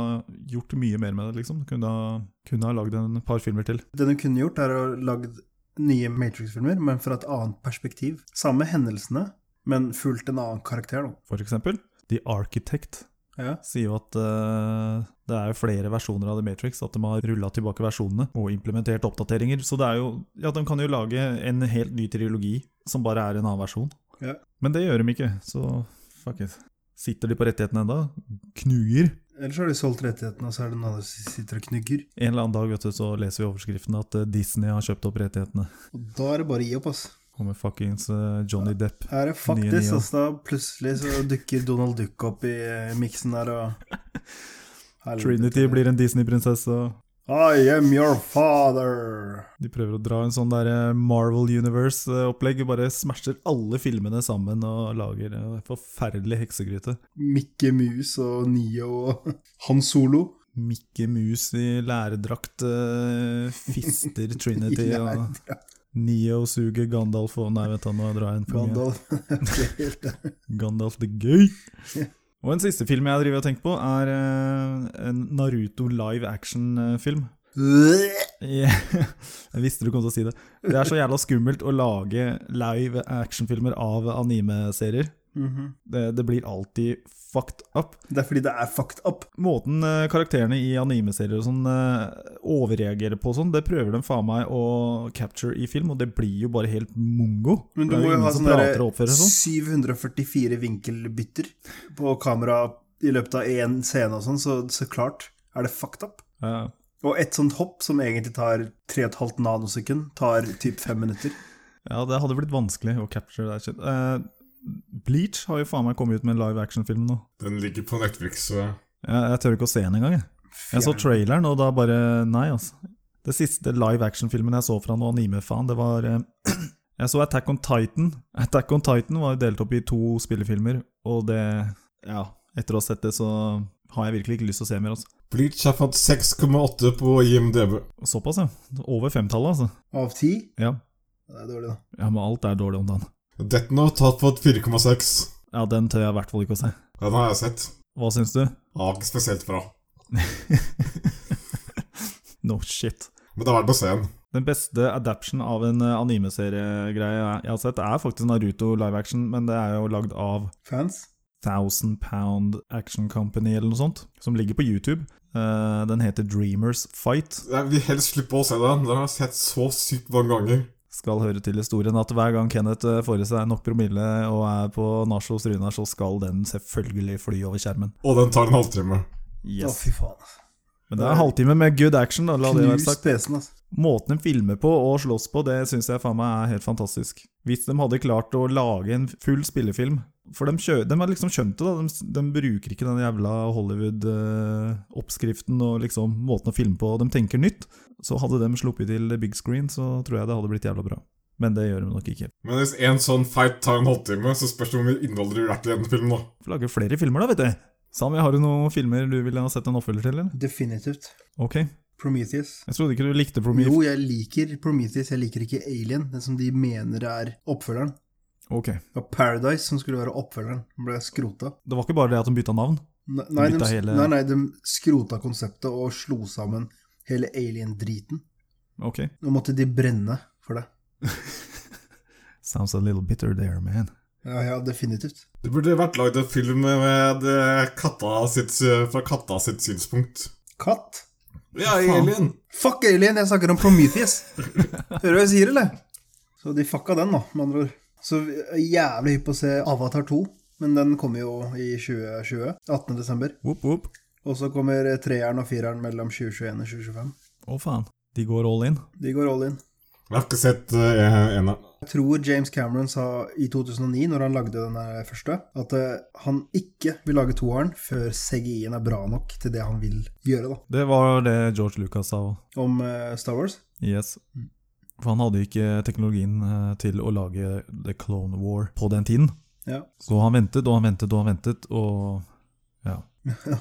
Speaker 1: gjort mye mer med det, liksom. De Kunne, ha- kunne ha lagd en par filmer til.
Speaker 4: Det du kunne gjort, er å lagd nye Matrix-filmer, men fra et annet perspektiv. Samme hendelsene, men fulgt en annen karakter, da.
Speaker 1: For eksempel The Architect
Speaker 4: Ja.
Speaker 1: sier jo at eh, det er jo flere versjoner av The Matrix, at de har rulla tilbake versjonene og implementert oppdateringer. Så det er jo Ja, de kan jo lage en helt ny trilogi som bare er en annen versjon.
Speaker 4: Ja.
Speaker 1: Men det gjør de ikke, så fuck it. Sitter de på rettighetene enda? Knuger?
Speaker 4: Ellers har de solgt rettighetene, og så er det noen andre som sitter og knugger.
Speaker 1: En eller annen dag vet du, så leser vi i overskriften at eh, Disney har kjøpt opp rettighetene.
Speaker 4: Og da er det bare å gi opp, ass.
Speaker 1: Kommer fuckings eh, Johnny Depp.
Speaker 4: Her er fuck
Speaker 1: Nye,
Speaker 4: this,
Speaker 1: nye.
Speaker 4: ass. Da plutselig så dukker Donald Duck opp i eh, miksen her, og Helvete.
Speaker 1: Trinity blir en Disney-prinsesse. og-
Speaker 4: I am your father.
Speaker 1: De prøver å dra en sånn der eh, Marvel Universe-opplegg. Bare smasher alle filmene sammen og lager eh, forferdelig heksegryte.
Speaker 4: Mikke Mus og Nio og Han Solo.
Speaker 1: Mikke Mus i læredrakt eh, fister Trinity og Neo suger Gandalf og Nei, vent da, nå drar jeg en for mye.
Speaker 4: Gandalf.
Speaker 1: Gandalf the Gøy. Og en siste film jeg driver og tenker på, er eh, en Naruto live action-film. Ja, Jeg visste du kom til å si det. Det er så jævla skummelt å lage live actionfilmer av anime-serier.
Speaker 4: Mhm.
Speaker 1: Det, det blir alltid fucked up.
Speaker 4: Det er fordi det er fucked up.
Speaker 1: Måten eh, karakterene i anime-serier og sånn eh, overreagerer på og sånn, det prøver de faen meg å capture i film, og det blir jo bare helt mongo.
Speaker 4: Men du
Speaker 1: det er
Speaker 4: må jo
Speaker 1: ingen
Speaker 4: ha
Speaker 1: som
Speaker 4: sånne
Speaker 1: prater og
Speaker 4: der
Speaker 1: oppfører seg sånn.
Speaker 4: 744 vinkelbytter på kamera i løpet av én scene og sånn, så, så klart er det fucked up.
Speaker 1: Ja.
Speaker 4: Og et sånt hopp som egentlig tar 3,5 nanosekund, tar typ fem minutter.
Speaker 1: Ja, det hadde blitt vanskelig å capture that shit. Eh, Bleach har jo faen meg kommet ut med en live action-film nå.
Speaker 7: Den ligger på Netflix, så
Speaker 1: Jeg, jeg tør ikke å se den engang. Jeg. jeg så traileren, og da bare Nei, altså. Det siste live action-filmen jeg så fra noe anime-faen, det var eh, Jeg så Attack on Titan. Attack on Titan var jo delt opp i to spillefilmer, og det Ja, etter å ha sett det, så har jeg virkelig ikke lyst til å se mer, altså.
Speaker 7: Bleach har fått 6,8 på IMDb.
Speaker 1: Såpass, ja. Over femtallet, altså.
Speaker 4: Av ti?
Speaker 1: Ja.
Speaker 4: Det er dårlig, da.
Speaker 1: ja, men alt er dårlig om dagen.
Speaker 7: Death Note har fått 4,6.
Speaker 1: Ja, den tør jeg i hvert fall ikke å se.
Speaker 7: Den har jeg sett.
Speaker 1: Hva syns du?
Speaker 7: Den var ikke spesielt bra.
Speaker 1: No shit.
Speaker 7: Men det er verdt å se den.
Speaker 1: Den beste adaption av en eh, animeseriegreie jeg har sett, er faktisk Naruto live action, men det er jo lagd av
Speaker 4: Fans?
Speaker 1: Thousand Pound Action Company eller noe sånt, som ligger på YouTube. Eh, den heter Dreamers Fight.
Speaker 7: Jeg vil helst slippe å se den. Den har jeg sett så sykt mange ganger.
Speaker 1: Skal høre til historien at hver gang Kenneth eh, får i seg nok promille og er på nach hos Runar, så skal den selvfølgelig fly over skjermen.
Speaker 7: Og den tar en halvtime.
Speaker 4: Å,
Speaker 1: Yes.
Speaker 4: fy faen.
Speaker 1: Men det er en halvtime med good action, da. La det være
Speaker 4: Knust
Speaker 1: sagt.
Speaker 4: PC-en, altså.
Speaker 1: Måten de filmer på og slåss på, det syns jeg faen meg er helt fantastisk. Hvis de hadde klart å lage en full spillefilm For de, kjø de har liksom skjønt det, da. De, de bruker ikke den jævla Hollywood-oppskriften og liksom måten å filme på. De tenker nytt. Så hadde de sluppet til big screen, så tror jeg det hadde blitt jævla bra. Men det gjør de nok ikke.
Speaker 7: Men hvis en sånn fight tar en halvtime, så spørs det hvor mye innhold det blir i en film, da.
Speaker 1: Får lage flere filmer, da, vet du. Sami, har du noen filmer du ville ha sett en oppfølger til, eller?
Speaker 4: Definitivt.
Speaker 1: Ok. Jeg
Speaker 4: Prometheus.
Speaker 1: trodde ikke du likte Promille.
Speaker 4: Jo, jeg liker Prometheus, jeg liker ikke Alien, den som de mener er oppfølgeren.
Speaker 1: Ok.
Speaker 4: Det var Paradise som skulle være oppfølgeren, den ble skrota.
Speaker 1: Det var ikke bare det at de bytta navn?
Speaker 4: Ne- Nei, de,
Speaker 1: bytta hele-
Speaker 4: nei, nei, de skrota konseptet og slo sammen hele alien-driten.
Speaker 1: Ok.
Speaker 4: Nå måtte de brenne for det.
Speaker 1: Sounds a little bitter there, man.
Speaker 4: Ja, ja, definitivt.
Speaker 7: Det burde vært lagd en film med eh, katta sitt, eh, fra katta sitt synspunkt.
Speaker 4: Katt?
Speaker 7: Ja, i Alien.
Speaker 4: Fuck alien, jeg snakker om Prometheus! Hører du hva jeg sier, eller? Så de fucka den, da, med andre ord. Så jeg er jævlig hypp på å se Avatar 2, men den kommer jo i 2020. 18. desember.
Speaker 1: Whoop, whoop.
Speaker 4: Og så kommer treeren og fireren mellom 2021 og 2025.
Speaker 1: Å faen. De går all in.
Speaker 4: De går all in.
Speaker 7: Jeg har ikke sett uh, en av
Speaker 4: Jeg tror James Cameron sa i 2009, når han lagde den her første, at eh, han ikke vil lage toeren før CGI-en er bra nok til det han vil gjøre, da.
Speaker 1: Det var det George Lucas sa òg.
Speaker 4: Om eh, Star Wars.
Speaker 1: Yes. For han hadde ikke teknologien eh, til å lage The Clone War på den tiden.
Speaker 4: Ja,
Speaker 1: Så han ventet og han ventet og han ventet, og ja.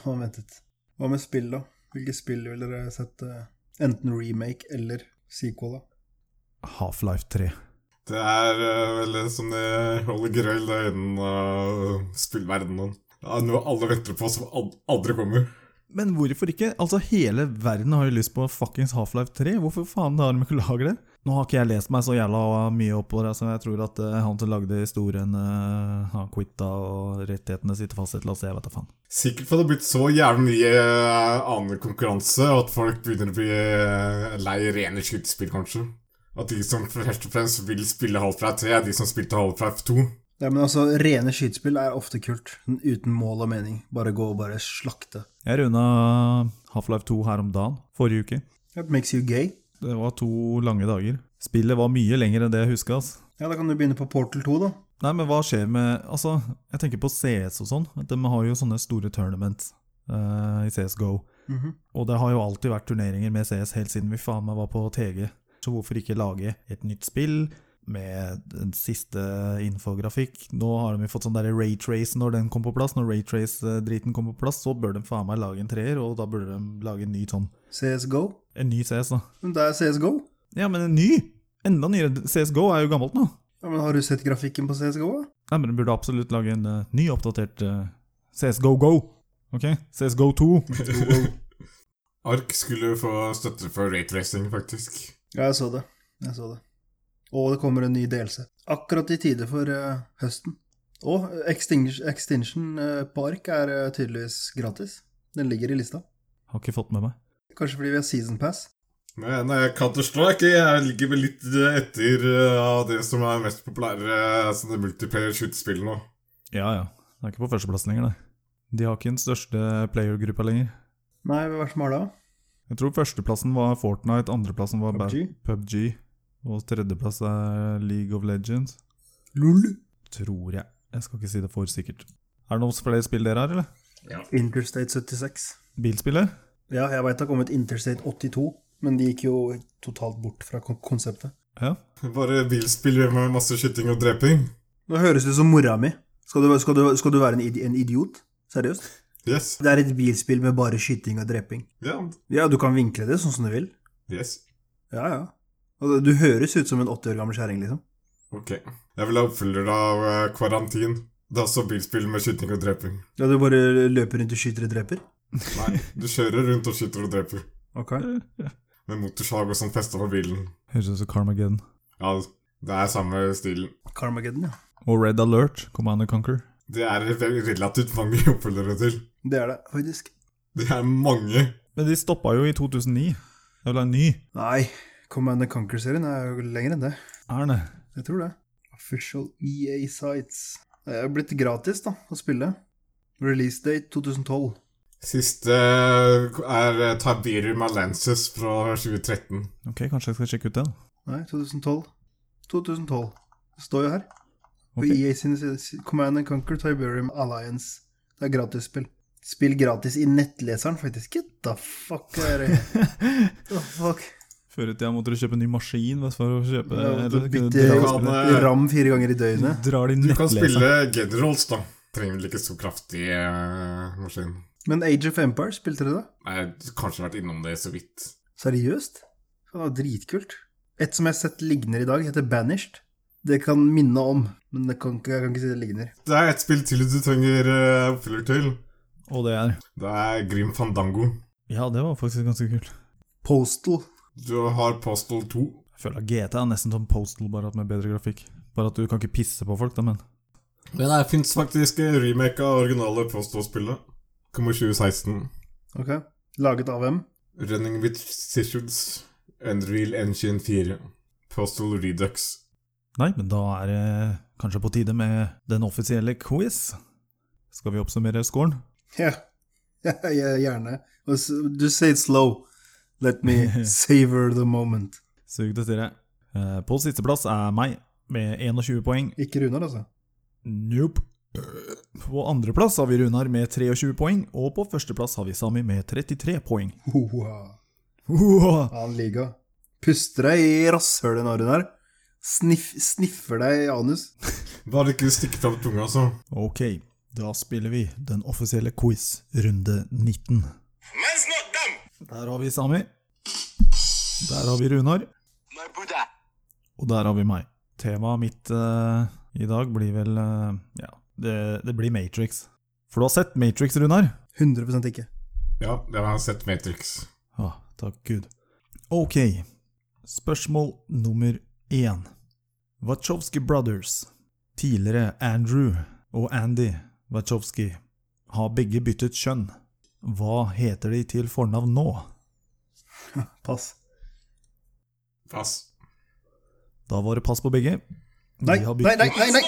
Speaker 4: han ventet. Hva med spill, da? Hvilke spill vil dere sette eh, enten remake eller sequel, da?
Speaker 1: Half-Life 3.
Speaker 7: Det er eh, vel en sånn eh, Holy Grail da, innen eh, spillverdenen. Det er noe alle venter på, som al- aldri kommer.
Speaker 1: Men hvorfor ikke? Altså, hele verden har jo lyst på fuckings Half-Life 3. Hvorfor faen har de ikke laget det? Nå har ikke jeg lest meg så jævla uh, mye opp på det, så jeg tror at eh, han som lagde historien, eh, han quitta, og rettighetene sitter fast et eller annet sted, jeg vet da faen.
Speaker 7: Sikkert for det har blitt så jævlig mye eh, annen konkurranse og at folk begynner å bli eh, lei rene skytespill, kanskje. At de som først og fremst vil spille Half-Life 3, er de som spilte Half-Life 2.
Speaker 4: Ja, men altså, Rene skytespill er ofte kult. Uten mål og mening. Bare gå og bare slakte.
Speaker 1: Jeg runda Half-Life 2 her om dagen, forrige uke.
Speaker 4: That makes you gay.
Speaker 1: Det var to lange dager. Spillet var mye lenger enn det jeg huska. ass.
Speaker 4: Ja, da kan du begynne på Portal 2, da.
Speaker 1: Nei, men hva skjer med Altså, jeg tenker på CS og sånn. at De har jo sånne store tournaments eh, i CSGO. Og det har jo alltid vært turneringer med CS helt siden vi faen meg var på TG. Så hvorfor ikke lage et nytt spill med den siste infografikk? Nå har de jo fått sånn derre Raytrace når den kom på plass. Når Raytrace-driten kom på plass, så bør de faen meg lage en treer, og da burde de lage en ny sånn
Speaker 4: CSGO?
Speaker 1: En ny CS, da.
Speaker 4: Men det er CSGO.
Speaker 1: Ja, men en ny! Enda nyere. CSGO er jo gammelt nå.
Speaker 4: Ja, men har du sett grafikken på CSGO? da?
Speaker 1: Nei, men de burde absolutt lage en eh, ny oppdatert eh, CSGO Go. Ok? CSGO 2.
Speaker 7: Ark skulle få støtte for raytracing, faktisk.
Speaker 4: Ja, jeg så det. Jeg så det. Og det kommer en ny delelse. Akkurat i tide for eh, høsten. Og Extinction, Extinction eh, Park er eh, tydeligvis gratis. Den ligger i lista.
Speaker 1: Har ikke fått med meg.
Speaker 4: Kanskje fordi vi har Season Pass.
Speaker 7: Men eh, Counter-Strike jeg ligger vel litt eh, etter eh, av det som er mest populære eh, sånne multiplayer shoot-spill nå.
Speaker 1: Ja, ja. Det er ikke på førsteplassen lenger, det. De har ikke den største playergruppa lenger.
Speaker 4: Nei, hva er det som har det? da?
Speaker 1: Jeg tror førsteplassen var Fortnite, andreplassen var PUBG,
Speaker 4: PUBG?
Speaker 1: PUBG og tredjeplass er League of Legends.
Speaker 4: LOL.
Speaker 1: Tror jeg. Jeg skal ikke si det for sikkert. Er det noen flere spill dere har, eller?
Speaker 4: Interstate 76.
Speaker 1: Bilspillet?
Speaker 4: Ja, jeg veit det har kommet Interstate 82, men de gikk jo totalt bort fra kon- konseptet.
Speaker 1: Ja.
Speaker 7: Bare bilspill med masse skyting og dreping.
Speaker 4: Nå høres du som mora mi. Skal du, skal du, skal du være en, idi- en idiot? Seriøst?
Speaker 7: Yes.
Speaker 4: Det er et bilspill med bare skyting og dreping.
Speaker 7: Ja.
Speaker 4: Ja, du kan vinkle det sånn som du vil.
Speaker 7: Yes.
Speaker 4: Ja, ja. Og du høres ut som en 80 år gammel kjerring, liksom.
Speaker 7: Ok. Jeg vil ha oppfølger av eh, Quarantin. Det er også bilspill med skyting og dreping.
Speaker 4: Ja, du bare løper rundt og skyter og dreper?
Speaker 7: Nei, du kjører rundt og skyter og dreper.
Speaker 4: Ok.
Speaker 7: Med motorsag og sånn festa på bilen.
Speaker 1: Høres ut som Carmageddon.
Speaker 7: Ja, det er samme stilen.
Speaker 4: Carmageddon, ja.
Speaker 1: Og Red Alert, Commander Conquer.
Speaker 7: Det er det relativt mange oppfølgere til.
Speaker 4: Det er det, faktisk.
Speaker 7: Det er mange.
Speaker 1: Men de stoppa jo i 2009. Det er vel en ny?
Speaker 4: Nei, Command Conquer-serien er jo lenger enn det.
Speaker 1: Er den det?
Speaker 4: Jeg tror det. Official EA Sites. Det er jo blitt gratis, da, å spille. Release date 2012.
Speaker 7: Siste eh, er Tiberium Alances fra 2013.
Speaker 1: Ok, kanskje jeg skal sjekke ut den.
Speaker 4: Nei, 2012. 2012. Det står jo her. På
Speaker 1: Ok.
Speaker 4: EA sine sider. Command Conquer Tiberium Alliance. Det er gratisspill. Spill gratis i nettleseren, faktisk. Get the fuck er det? The fuck?
Speaker 1: Før i tida måtte du kjøpe en ny maskin vet du, for å kjøpe
Speaker 4: Ja, måtte
Speaker 1: eller kunne
Speaker 4: bytte-
Speaker 1: dra-
Speaker 7: Du kan, eh,
Speaker 4: Ram fire ganger i døgnet.
Speaker 1: Drar de
Speaker 7: Du kan
Speaker 1: nettleseren.
Speaker 7: spille Generals, da. Trenger vel ikke så kraftig eh, maskin.
Speaker 4: Men Age of Empires, spilte dere det?
Speaker 7: Nei, jeg har kanskje vært innom det så vidt.
Speaker 4: Seriøst? Faen, Det var dritkult. Et som jeg har sett ligner i dag, heter Banished. Det kan minne om, men det kan ikke, jeg kan ikke si det ligner.
Speaker 7: Det er et spill til du trenger eh, oppfølger til.
Speaker 1: Og det er
Speaker 7: Det er Grim Fandango.
Speaker 1: Ja, det var faktisk ganske kult.
Speaker 4: Postal.
Speaker 7: Du har Postal 2.
Speaker 1: Jeg føler at GT er nesten som Postal, bare at med bedre grafikk. Bare at du kan ikke pisse på folk, da, men
Speaker 7: Men det fins faktisk en remake av originale Postal-spillet. Kommer 2016.
Speaker 4: Ok. Laget av hvem?
Speaker 7: Running with Sissions. Unreal Engine 4. Postal Redux.
Speaker 1: Nei, men da er det kanskje på tide med den offisielle quiz. Skal vi oppsummere scoren?
Speaker 4: Ja, ja gjerne. Og s- Just say it slow. Let me savor the moment.
Speaker 1: Sug det til deg. Eh, På sisteplass er meg, med 21 poeng.
Speaker 4: Ikke Runar, altså.
Speaker 1: Nope. På andreplass har vi Runar med 23 poeng, og på førsteplass har vi Sami med 33 poeng.
Speaker 4: Hoa.
Speaker 1: Wow.
Speaker 4: Annen liga. Puster deg i rasshølet nå, Runar. Sniff, sniffer deg i anus.
Speaker 7: Bare ikke stikke fram tunga, altså.
Speaker 1: Ok, da spiller vi den offisielle quiz, runde 19. Der har vi Sami. Der har vi Runar. Og der har vi meg. Temaet mitt eh, i dag blir vel eh, Ja, det, det blir Matrix. For du har sett Matrix, Runar?
Speaker 4: 100 ikke.
Speaker 7: Ja, jeg har sett Matrix.
Speaker 1: Ah, takk Gud. Ok, spørsmål nummer én. Wachowski Brothers, tidligere Andrew og Andy Wachowski, har begge byttet kjønn. Hva heter de til fornavn nå?
Speaker 4: Pass.
Speaker 7: Pass.
Speaker 1: Da var det pass på begge.
Speaker 4: Nei,
Speaker 1: De har
Speaker 4: nei, nei, nei, nei,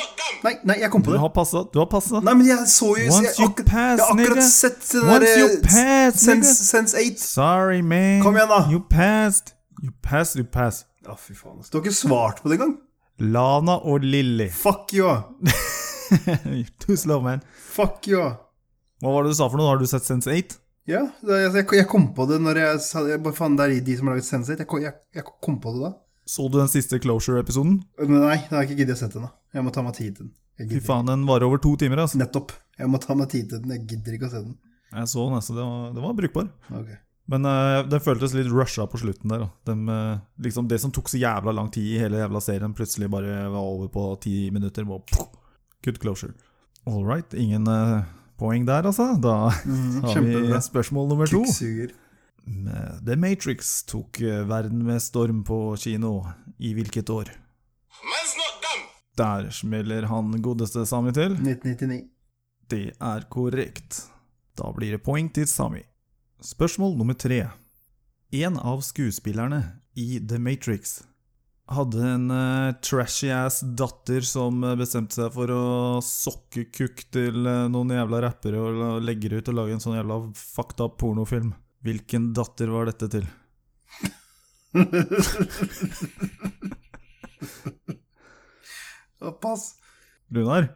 Speaker 4: nei, nei, jeg kom på
Speaker 1: Du
Speaker 4: det.
Speaker 1: har passa, du har passa.
Speaker 4: Nei, men jeg så jo
Speaker 1: Once
Speaker 4: jeg,
Speaker 1: you
Speaker 4: akkur-
Speaker 1: pass,
Speaker 4: Jeg har akkurat
Speaker 1: nigga.
Speaker 4: sett den
Speaker 1: Once
Speaker 4: derre
Speaker 1: you pass,
Speaker 4: Sense,
Speaker 1: nigga.
Speaker 4: sense 8.
Speaker 1: Sorry, man.
Speaker 4: eh, Kom igjen, da.
Speaker 1: You passed. You passed, you passed.
Speaker 4: Å, fy faen.
Speaker 1: altså.
Speaker 4: ass. Du har ikke svart på det engang?
Speaker 1: Lana og Lilly.
Speaker 4: Fuck you. ah.
Speaker 1: Too slow, man.
Speaker 4: Fuck you. ah.
Speaker 1: Hva var det du sa for noe? Har du sett Sense 8?
Speaker 4: Ja, det- jeg, jeg kom på det når jeg sa jeg, bare, Faen, det er de som har laget Sense8. Jeg, kom- jeg, jeg kom på det da.
Speaker 1: Så du den siste Closure-episoden?
Speaker 4: Men nei, det har jeg ikke giddet å sette ennå. Jeg må ta meg tid til den.
Speaker 1: Fy
Speaker 4: Jeg gidder.
Speaker 1: faen, den varer over to timer, altså.
Speaker 4: Nettopp. Jeg må ta meg tid til den. Jeg gidder ikke å se den.
Speaker 1: Jeg så den, altså. Den var, den var brukbar.
Speaker 4: Ok.
Speaker 1: Men eh, den føltes litt rusha på slutten der. da. Dem, eh, liksom det som tok så jævla lang tid i hele jævla serien, plutselig bare var over på ti minutter. Bare, pff, good closure. All right. Ingen eh, poeng der, altså. Da
Speaker 4: Mm,
Speaker 1: har vi
Speaker 4: kjempebra.
Speaker 1: spørsmål nummer to.
Speaker 4: Kukksuger.
Speaker 1: Eh, The Matrix tok eh, verden med storm på kino. I hvilket år? Der smeller han godeste Sami til.
Speaker 4: 1999.
Speaker 1: Det er korrekt. Da blir det poeng til Sami. Spørsmål nummer tre. En av skuespillerne i The Matrix hadde en eh, trashy ass datter som eh, bestemte seg for å sokke kukk til eh, noen jævla rappere og la- legge det ut og lage en sånn jævla fucked up pornofilm. Hvilken datter var dette til?
Speaker 4: Såpass.
Speaker 1: Runar?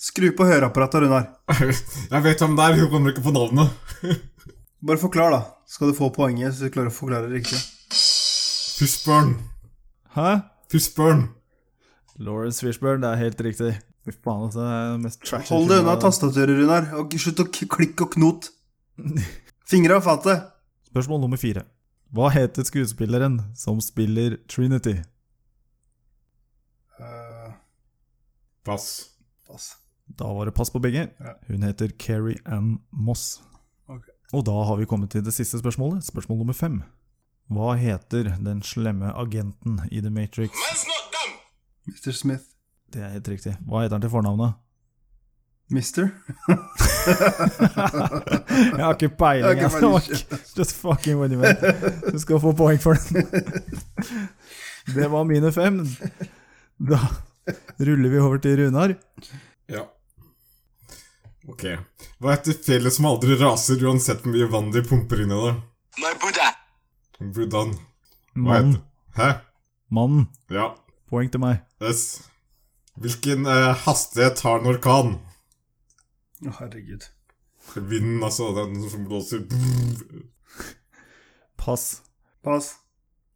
Speaker 4: Skru på høreapparatet, Runar.
Speaker 7: Jeg vet hvem det er, hun kommer ikke på navnet.
Speaker 4: Bare forklar, da. Skal du få poenget, så du klarer å forklare det riktig.
Speaker 7: Fishburn.
Speaker 1: Hæ?
Speaker 7: Fishburn.
Speaker 1: Lawrence Fishburne, det er helt riktig. Fy faen, altså. Det er den mest trashy
Speaker 4: Hold deg unna
Speaker 1: filmen.
Speaker 4: tastaturet, Runar, og slutt å k- klikke og knot. Fingra av fatet.
Speaker 1: Spørsmål nummer fire. Hva heter skuespilleren som spiller Trinity?
Speaker 4: Eh,
Speaker 7: Pass.
Speaker 4: pass.
Speaker 1: Da var det pass på begge.
Speaker 4: Ja.
Speaker 1: Hun heter Keri Ann Moss.
Speaker 4: Ok.
Speaker 1: Og da har vi kommet til det siste spørsmålet, spørsmål nummer fem. Hva heter den slemme agenten i The Matrix?
Speaker 4: Mr. Smith.
Speaker 1: Det er helt riktig. Hva heter han til fornavnet?
Speaker 4: Mister?
Speaker 1: Jeg har ikke peiling.
Speaker 4: Jeg har ikke
Speaker 1: altså. Just fucking what you meant. Du skal få poeng for den. Det var mine fem. Da ruller vi over til Runar.
Speaker 7: Ja. Ok. Hva heter fjellet som aldri raser, uansett hvor mye vann de pumper inn i det? Buddhaen. Hva
Speaker 1: Mannen.
Speaker 7: heter Hæ?
Speaker 1: Mannen.
Speaker 7: Ja.
Speaker 1: Poeng til meg.
Speaker 7: Yes. Hvilken eh, hastighet har en orkan?
Speaker 4: Å, herregud.
Speaker 7: Vinden, altså. Den som blåser
Speaker 1: Pass.
Speaker 4: Pass.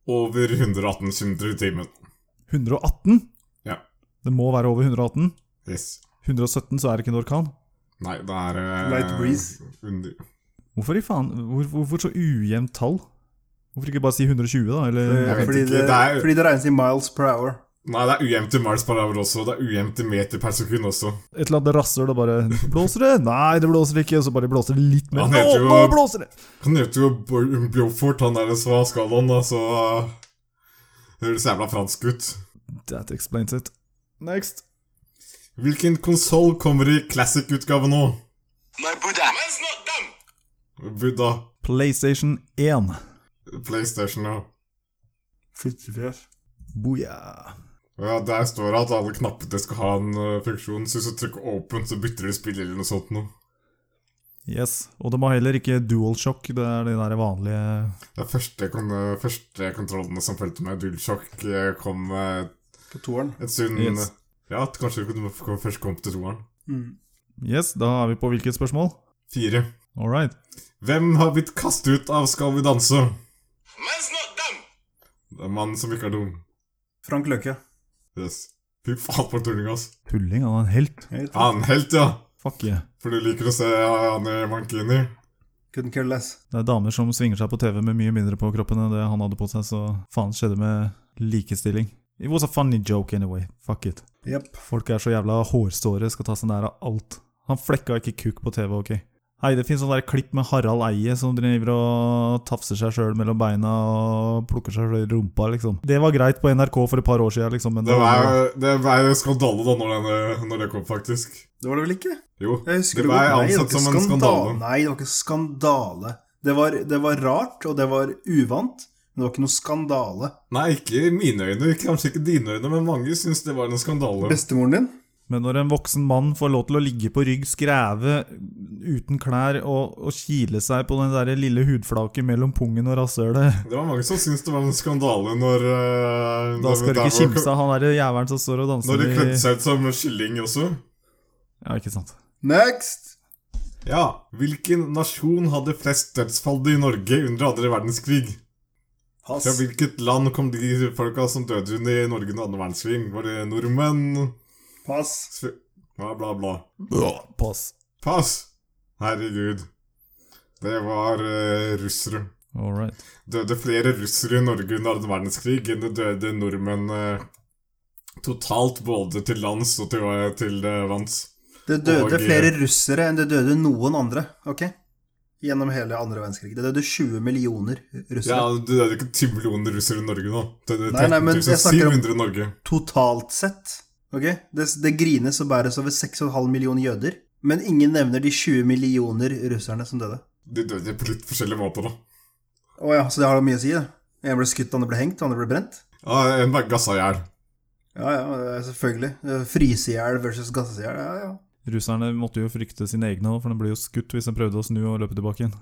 Speaker 7: over 118 km i timen.
Speaker 1: 118?
Speaker 7: Ja.
Speaker 1: Det må være over 118.
Speaker 7: Yes.
Speaker 1: 117 så er det ikke en orkan.
Speaker 7: Nei, det er eh,
Speaker 4: Light breeze.
Speaker 7: Under.
Speaker 1: Hvorfor i faen? Hvor, hvorfor så ujevnt tall? Hvorfor ikke bare si 120, da? Eller
Speaker 7: vet
Speaker 4: Eh, Fordi
Speaker 7: ikke,
Speaker 4: det,
Speaker 7: det er jo-
Speaker 4: fordi det regnes i miles per hour.
Speaker 7: Nei, det er ujevnt i miles per hour også. Det er ujevnt i meter per sekund også.
Speaker 1: et eller annet rasser og bare Blåser det? Nei, det blåser ikke. Og så bare blåser det litt mer.
Speaker 7: Han
Speaker 1: Nå,
Speaker 7: heter jo-
Speaker 1: nå blåser det!
Speaker 7: Han heter jo Bo- Beaufort, han der som har skalaen, da, så eh, Det høres jævla fransk ut.
Speaker 1: That explains it. Next.
Speaker 7: Hvilken konsoll kommer i classic-utgave nå? Buddha.
Speaker 1: PlayStation 1.
Speaker 7: PlayStation, ja.
Speaker 4: Flyttefjes.
Speaker 1: Booyah.
Speaker 7: Ja, Der står det at alle knappene skal ha en eh, funksjon. Så hvis du trykker åpent, så bytter du spill eller noe sånt noe.
Speaker 1: Yes. Og det må heller ikke DualShock. Det er de der vanlige
Speaker 7: Det er første, kon eh, første kontrollene som fulgte med DualShock, eh, kom eh,
Speaker 4: På toeren.
Speaker 7: en stund
Speaker 1: Yes.
Speaker 7: Ja, at kanskje du kunne- kom- først kom til toeren.
Speaker 4: Mm.
Speaker 1: Yes, da er vi på hvilket spørsmål?
Speaker 7: Fire.
Speaker 1: All right.
Speaker 7: Hvem har blitt kastet ut av Skal vi danse? Det er mannen som ikke er dum.
Speaker 4: Frank Løke.
Speaker 7: Yes. Fy faen for tulling, ass.
Speaker 1: Tulling, han er en helt.
Speaker 4: Jeg vet det.
Speaker 7: Han helt, ja.
Speaker 1: Fuck yeah.
Speaker 7: For du liker å se han i mankini.
Speaker 4: Couldn't care less.
Speaker 1: Det er damer som svinger seg på TV med mye mindre på kroppen enn det han hadde på seg, så faen skjedde med likestilling. It was a funny joke anyway. Fuck it.
Speaker 4: Jepp.
Speaker 1: Folk er så jævla hårsåre, skal ta seg nær av alt. Han flekka ikke kuk på TV, ok? Hei, det finnes sånn der klipp med Harald Eie som driver og tafser seg sjøl mellom beina og plukker seg sjøl i rumpa, liksom. Det var greit på NRK for et par år sia, liksom, men
Speaker 7: Det var, det var en skandale da når, den, eh, når det kom, faktisk.
Speaker 4: Det var det vel ikke?
Speaker 7: Jo.
Speaker 4: Jeg husker
Speaker 7: Det
Speaker 4: det,
Speaker 7: ble
Speaker 4: godt. Nei, det var
Speaker 7: ansett
Speaker 4: ikke
Speaker 7: som en skandale.
Speaker 4: Nei, det var ikke skandale. Det var, det var rart, og det var uvant, men det var ikke noe skandale.
Speaker 7: Nei, ikke i mine øyne, kanskje ikke dine øyne, men mange syns det var en skandale.
Speaker 4: Bestemoren din?
Speaker 1: Men når en voksen mann får lov til å ligge på rygg, skreve uten klær og, og kile seg på den der lille hudflaket mellom pungen og rasshølet
Speaker 7: Det var mange som syntes det var en skandale når eh,
Speaker 1: Da
Speaker 7: når-
Speaker 1: skal du ikke
Speaker 7: der hvor-
Speaker 1: kimse av altså, han derre jævelen som står og danser
Speaker 7: Når de
Speaker 1: i
Speaker 7: kledde seg ut som kylling også.
Speaker 1: Ja, ikke sant.
Speaker 4: Next!
Speaker 7: Ja, hvilken nasjon hadde flest dødsfall i Norge under andre verdenskrig?
Speaker 4: Pass.
Speaker 7: Fra hvilket land kom de folka som døde under Norge under andre verdenskrig? Var det nordmenn?
Speaker 4: Pass.
Speaker 7: sve- Bla, bla, bla.
Speaker 6: Pass.
Speaker 7: Pass! Herregud. Det var eh, russere.
Speaker 6: All right.
Speaker 7: døde flere russere i Norge under annen verdenskrig enn det døde nordmenn eh, totalt, både til lands og til, til eh, vanns.
Speaker 4: Det døde
Speaker 7: Og- eh,
Speaker 4: flere russere enn det døde noen andre, ok? Gjennom hele andre verdenskrig. Det døde 20 millioner
Speaker 7: Ja,
Speaker 4: russere.
Speaker 7: Det døde ikke 10 millioner russere i Norge nå. Det døde
Speaker 4: Nei, nei, men jeg snakker om-
Speaker 7: 13.700 i Norge.
Speaker 4: Totalt sett, ok? Det, det grines og bæres over 6,5 millioner jøder, men ingen nevner de 20 millioner russerne som døde.
Speaker 7: De døde på litt forskjellige måter, da.
Speaker 4: Å ja, så det har da mye å si, det. En ble skutt, andre ble hengt, andre ble brent.
Speaker 7: Ja, en ble gassa i hjel.
Speaker 4: Ja, ja, eh, selvfølgelig. Eh, Fryse i hjel versus gasse i hjel, ja, ja.
Speaker 1: Russerne måtte jo frykte sine egne, også, for de ble jo skutt hvis de prøvde å snu og løpe tilbake igjen.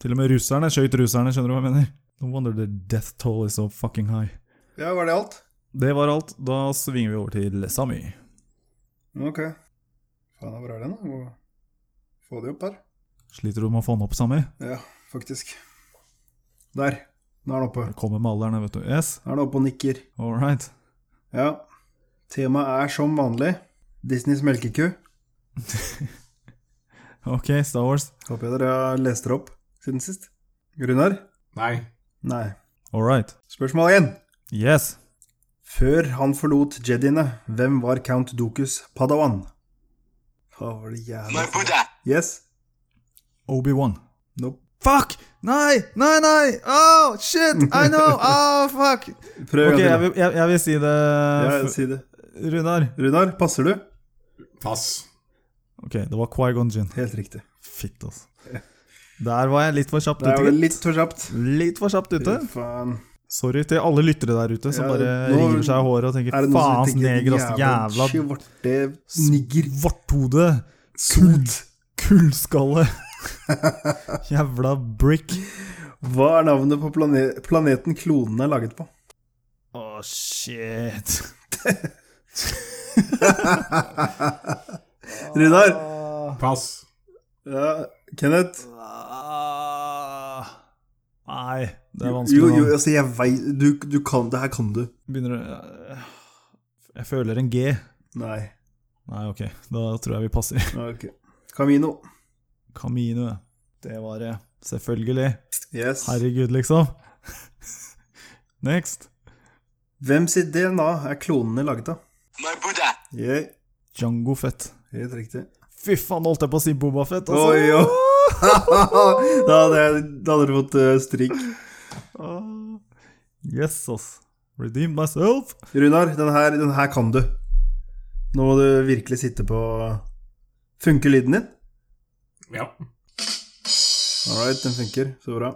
Speaker 1: Til og med russerne skjøt russerne, skjønner du hva jeg mener? No wonder the death toll is so fucking high.
Speaker 4: Ja, var det alt?
Speaker 1: Det var alt, da svinger vi over til Sami.
Speaker 4: Ok. Faen, hvor er den, da? Må Få de opp her.
Speaker 1: Sliter du med å få den opp, Sami?
Speaker 4: Ja, faktisk. Der. Nå er den oppe.
Speaker 1: Kommer med alderen, vet du. Yes?
Speaker 4: Nå er den oppe og nikker.
Speaker 1: All right.
Speaker 4: Ja. Temaet er som vanlig Disneys melkeku.
Speaker 1: Ok, Star Wars.
Speaker 4: Håper jeg dere har lest dere opp siden sist. Runar?
Speaker 7: Nei.
Speaker 4: Nei.
Speaker 1: All right.
Speaker 4: Spørsmål én.
Speaker 1: Yes.
Speaker 4: Før han forlot jediene, hvem var count Dokus padawan? Hva var det jævla Yes?
Speaker 1: Obi-Wan.
Speaker 4: Nope.
Speaker 6: Fuck! Nei, nei, nei! Oh, shit! I know! Oh, fuck!
Speaker 4: Prøv
Speaker 1: Ok, jeg
Speaker 4: igjen.
Speaker 1: vil, jeg, jeg vil si det
Speaker 4: Ja,
Speaker 1: f-
Speaker 4: si det.
Speaker 1: Runar.
Speaker 4: Runar, passer du?
Speaker 7: Pass.
Speaker 1: Ok, det var Qui-Gon Jinn.
Speaker 4: Helt riktig.
Speaker 1: Fitt, altså. Der var jeg litt for kjapt
Speaker 4: Der var
Speaker 1: ute.
Speaker 4: det
Speaker 1: gitt.
Speaker 4: litt for kjapt.
Speaker 1: Litt for kjapt ute.
Speaker 4: Fy Faen.
Speaker 1: Sorry til alle lyttere der ute som
Speaker 4: Ja,
Speaker 1: bare
Speaker 4: nå
Speaker 1: river seg i håret og tenker
Speaker 4: Er det noen
Speaker 1: faens
Speaker 4: som tenker
Speaker 1: neger, ass, jævla
Speaker 4: skjorte, nigger,
Speaker 1: svarthode, kult, kullskalle, jævla brick.
Speaker 4: Hva er navnet på plane planeten klonen er laget på?
Speaker 1: Å, shit.
Speaker 4: Runar?
Speaker 7: Pass.
Speaker 4: Ja, Kenneth?
Speaker 1: Ah. Nei, det er vanskelig.
Speaker 4: Jo, jo,
Speaker 1: navn.
Speaker 4: altså, jeg veit du, du kan Det her kan du.
Speaker 1: Begynner å eh, Jeg føler en G.
Speaker 4: Nei.
Speaker 1: Nei, ok. Da tror jeg vi passer.
Speaker 4: Ok. Camino.
Speaker 1: Camino. ja. Det var det. Selvfølgelig.
Speaker 4: Yes.
Speaker 1: Herregud, liksom. Next.
Speaker 4: Hvem sitt DNA er klonene laget av? Yeah.
Speaker 1: Django Fett.
Speaker 4: Helt riktig.
Speaker 1: Fy faen, holdt jeg på å si Boba Fett, altså.
Speaker 4: Oi, oi. da hadde jeg- da hadde du fått eh, stryk.
Speaker 1: Ah. Yes, ass. Redeemed myself.
Speaker 4: Runar, den her, den her kan du. Nå må du virkelig sitte på Funker lyden din?
Speaker 7: Ja.
Speaker 4: All right, den funker. Så bra.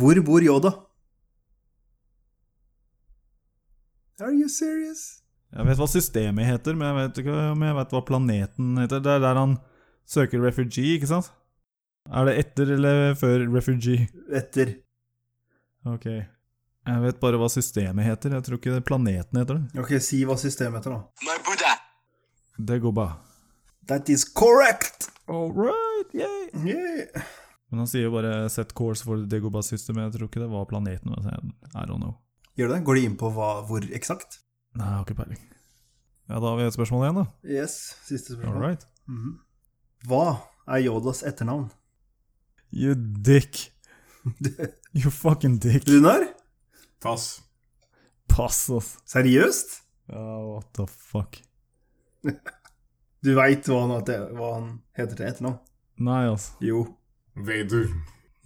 Speaker 4: Hvor bor Yoda? Are you serious?
Speaker 1: Jeg vet hva systemet heter, men jeg vet ikke om jeg vet hva planeten heter. Det er der han søker refugee, ikke sant? Er det etter eller før refugee?
Speaker 4: Etter.
Speaker 1: Ok. Jeg vet bare hva systemet heter. Jeg tror ikke det planeten heter det.
Speaker 4: Ok, si hva systemet heter, da.
Speaker 1: Det går bare.
Speaker 4: That is correct!
Speaker 1: All right, yay!
Speaker 4: Yeah.
Speaker 1: Men han sier jo bare 'set course for the Dagobah system'. Jeg tror ikke det var planeten. men jeg- I don't know.
Speaker 4: Gjør det? Går de inn på hva, hvor eksakt?
Speaker 1: Nei, jeg har ikke peiling. Ja, da har vi et spørsmål igjen, da.
Speaker 4: Yes, siste spørsmål.
Speaker 1: All right.
Speaker 4: Mhm. Hva er Yodas etternavn?
Speaker 1: You dick. You fucking dick.
Speaker 4: Runar?
Speaker 7: Pass.
Speaker 1: Pass, ass.
Speaker 4: Seriøst?
Speaker 1: Ja, what the fuck.
Speaker 4: Du veit hva, han heter- hva han heter til etternavn?
Speaker 1: Nei, ass.
Speaker 4: Jo,
Speaker 7: Vader.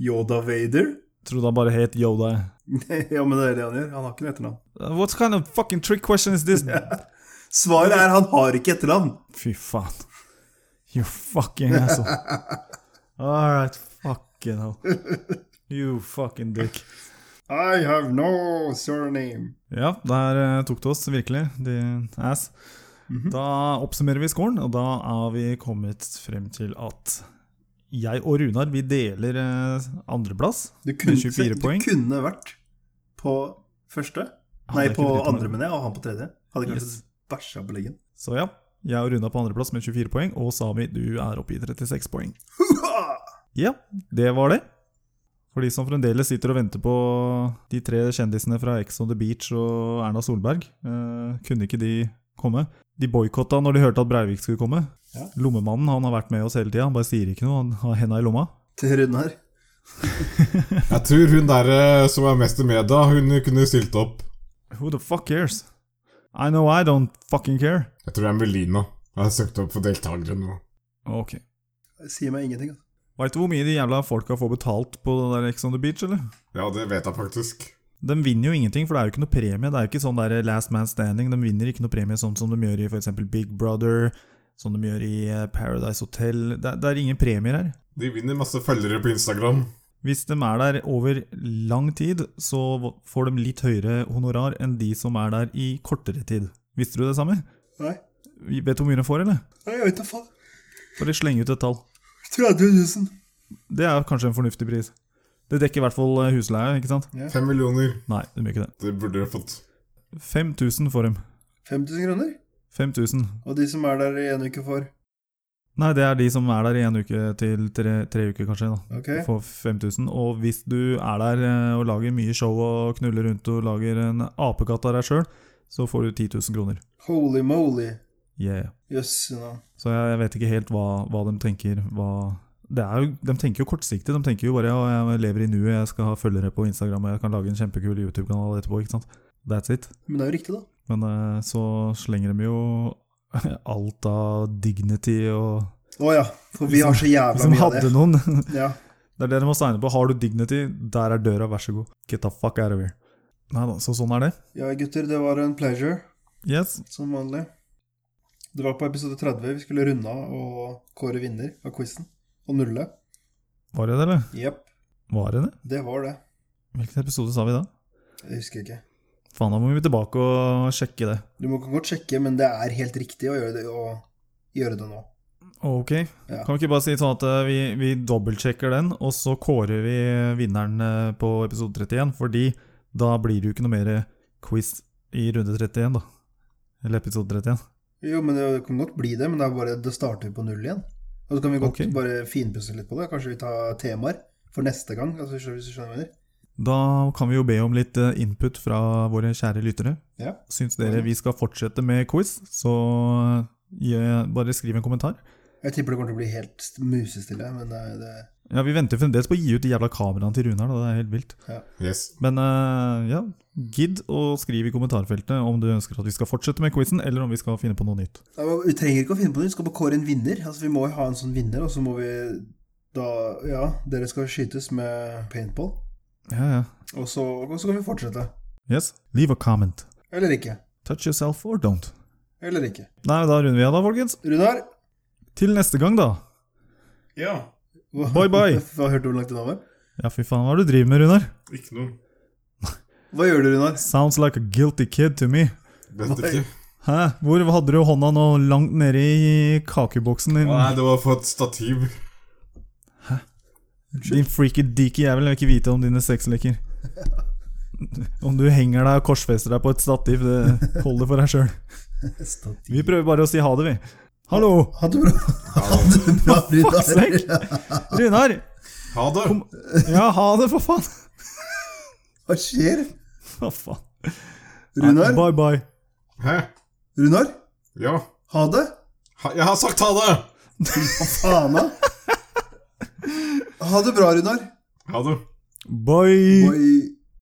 Speaker 4: Yoda Vader.
Speaker 1: Trodde han bare het Yoda. jeg.
Speaker 4: ja, men det er det han gjør. Han har ikke noe etternavn.
Speaker 1: Uh, What kind of fucking trick question is this?
Speaker 4: Svaret er han har ikke etternavn.
Speaker 1: Fy faen. You fucking asshole. All right, fucking hell. You fucking dick.
Speaker 4: I have no surname.
Speaker 1: Ja, der eh, tok det oss virkelig, din ass. Da oppsummerer vi scoren, og da er vi kommet frem til at jeg og Runar vi deler eh, andreplass.
Speaker 4: Du kunne,
Speaker 1: Med 24 poeng.
Speaker 4: Du kunne vært på første.
Speaker 1: Han
Speaker 4: Nei,
Speaker 1: er ikke
Speaker 4: på
Speaker 1: dritt, han er-
Speaker 4: andre, mener jeg, og han på tredje. Hadde kanskje
Speaker 1: Yes.
Speaker 4: bæsja på leggen.
Speaker 1: Så ja, Jeg runda på andreplass med 24 poeng, og Sami, du er oppe i 36 poeng. Ja, det var det. For de som fremdeles sitter og venter på de tre kjendisene fra Ex on the Beach og Erna Solberg, eh, kunne ikke de komme? De boikotta når de hørte at Breivik skulle komme.
Speaker 4: Ja.
Speaker 1: Lommemannen han har vært med oss hele tida, han bare sier ikke noe, han har henda i lomma.
Speaker 4: Til Runar.
Speaker 7: Jeg tror hun der eh, som er mest i media, hun kunne stilt opp.
Speaker 1: Who the fuck cares? I know I don't fucking care.
Speaker 7: Jeg tror det er Melina. Jeg har søkt opp for deltakere nå.
Speaker 1: Ok.
Speaker 4: Sier meg ingenting. altså.
Speaker 1: Veit du hvor mye de jævla folka får betalt på det der Ex on the Beach, eller?
Speaker 7: Ja, det vet jeg faktisk.
Speaker 1: De vinner jo ingenting, for det er jo ikke noe premie. Det er jo ikke sånn der Last Man Standing. De vinner ikke noe premie sånn som de gjør i f.eks. Big Brother, som de gjør i eh, Paradise Hotel. Det, er- det er ingen premier her.
Speaker 7: De vinner masse følgere på Instagram.
Speaker 1: Hvis de er der over lang tid, så v- får de litt høyere honorar enn de som er der i kortere tid. Visste du det samme?
Speaker 4: Nei.
Speaker 1: Vet du hvor mye de får, eller?
Speaker 4: Nei, jeg vet da faen.
Speaker 1: Bare slenge ut et tall.
Speaker 4: 30 000.
Speaker 1: Det er kanskje en fornuftig pris. Det dekker i hvert fall eh, husleie, ikke sant?
Speaker 7: Fem millioner.
Speaker 1: Nei, de gjør ikke det.
Speaker 7: Det burde dere fått.
Speaker 1: 5000 får de.
Speaker 4: 5000 kroner?
Speaker 1: 5000.
Speaker 4: Og de som er der i en uke, får
Speaker 1: Nei, det er de som er der i en uke til tre, tre uker, kanskje. da.
Speaker 4: Ok.
Speaker 1: For 5000. Og hvis du er der eh, og lager mye show og knuller rundt og lager en apekatt av deg sjøl, så får du 10 000 kroner.
Speaker 4: Holy moly.
Speaker 1: Yeah.
Speaker 4: Jøsse navn.
Speaker 1: Så jeg, jeg vet ikke helt hva, hva de tenker. Hva det er jo, de tenker jo kortsiktig. De tenker jo bare ja, jeg lever i nuet, jeg skal ha følgere på Instagram og jeg kan lage en kjempekul YouTube-kanal etterpå. ikke sant? That's it.
Speaker 4: Men det er jo riktig, da.
Speaker 1: Men eh, så slenger de jo alt av dignity og
Speaker 4: Å ja, for vi har så
Speaker 1: De
Speaker 4: jævla
Speaker 1: som
Speaker 4: mye av
Speaker 1: hadde
Speaker 4: det.
Speaker 1: noen.
Speaker 4: Ja.
Speaker 1: Det er det du må signe på. Har du dignity, der er døra, vær så god. Get the fuck out of here. Nei da, så sånn er det.
Speaker 4: ja, gutter, det var en pleasure,
Speaker 1: Yes.
Speaker 4: som vanlig. Det var på episode 30 vi skulle runde av og kåre vinner av quizen. Og nulle.
Speaker 1: Var det det, eller?
Speaker 4: Jepp.
Speaker 1: Var det det?
Speaker 4: Det var det.
Speaker 1: Hvilken episode sa vi da?
Speaker 4: Jeg husker ikke.
Speaker 1: Faen, da må vi tilbake og sjekke det.
Speaker 4: Du må godt sjekke, men det er helt riktig å gjøre det, å gjøre det nå.
Speaker 1: Ok.
Speaker 4: Ja.
Speaker 1: Kan vi ikke bare si sånn at eh, vi, vi dobbeltsjekker den, og så kårer vi vinneren eh, på episode 31, fordi da blir det jo ikke noe mer quiz i runde 31, da. Eller episode 31.
Speaker 4: Jo, men det kan godt bli det, men det er bare, da starter vi på null igjen. Og så kan vi godt
Speaker 1: Ok.
Speaker 4: bare finpusse litt på det. Kanskje vi tar temaer for neste gang, altså, hvis du skjønner hva jeg mener.
Speaker 1: Da kan vi jo be om litt eh, input fra våre kjære lyttere.
Speaker 4: Ja.
Speaker 1: Syns dere vi skal fortsette med quiz, så eh, gi, bare skriv en kommentar.
Speaker 4: Jeg tipper det kommer til å bli helt musestille, men det, er- det
Speaker 1: Ja, Vi venter fremdeles på å gi ut de jævla kameraene til Runar. da, Det er helt vilt.
Speaker 7: Yes.
Speaker 1: Men eh, ja, gidd å skrive i kommentarfeltet om du ønsker at vi skal fortsette med quizen, eller om vi skal finne på noe nytt.
Speaker 4: Ja, men Vi trenger ikke å finne på det, vi skal bare kåre en vinner. Altså, vi må jo ha en sånn vinner, og så må vi da Ja, dere skal skytes med paintball,
Speaker 1: Ja, ja.
Speaker 4: og så, og så kan vi fortsette.
Speaker 1: Yes. Leave a comment.
Speaker 4: Eller ikke.
Speaker 1: Touch yourself or don't.
Speaker 4: Eller ikke.
Speaker 1: Nei, da runder vi av, da, folkens.
Speaker 4: Runar?
Speaker 1: Til neste gang, da.
Speaker 7: Ja.
Speaker 4: hva-
Speaker 1: Bye, bye.
Speaker 4: Hva hørte du hvor langt unna var?
Speaker 1: Ja, fy faen, hva er det du driver med, Runar?
Speaker 7: Ikke noe.
Speaker 4: Hva gjør du, Runar?
Speaker 1: Sounds like a guilty kid to me.
Speaker 7: Vet ikke.
Speaker 1: Hæ? Hvor hadde du hånda nå langt nede i kakeboksen din?
Speaker 7: Nei, det var for et stativ.
Speaker 1: Din freaky deaky jævel, jeg vil ikke vite om dine sexleker. Om du henger deg og korsfester deg på et stativ, det holder for deg sjøl. Vi prøver bare å si ha det, vi. Hallo!
Speaker 4: Ha det bra. Ha det bra, Runar.
Speaker 1: Fucksekk! Runar!
Speaker 7: Ha det!
Speaker 1: Ja, ha det, for faen!
Speaker 4: Hva skjer?
Speaker 1: Hva faen?
Speaker 4: Runar?
Speaker 1: Bye, bye.
Speaker 7: Hæ?
Speaker 4: Runar?
Speaker 7: Ja.
Speaker 4: Ha det?
Speaker 7: Ha, jeg har sagt ha det!
Speaker 4: Hva faen, da? Ha det bra, Runar.
Speaker 7: Ha det.
Speaker 1: Bye.
Speaker 4: Oi.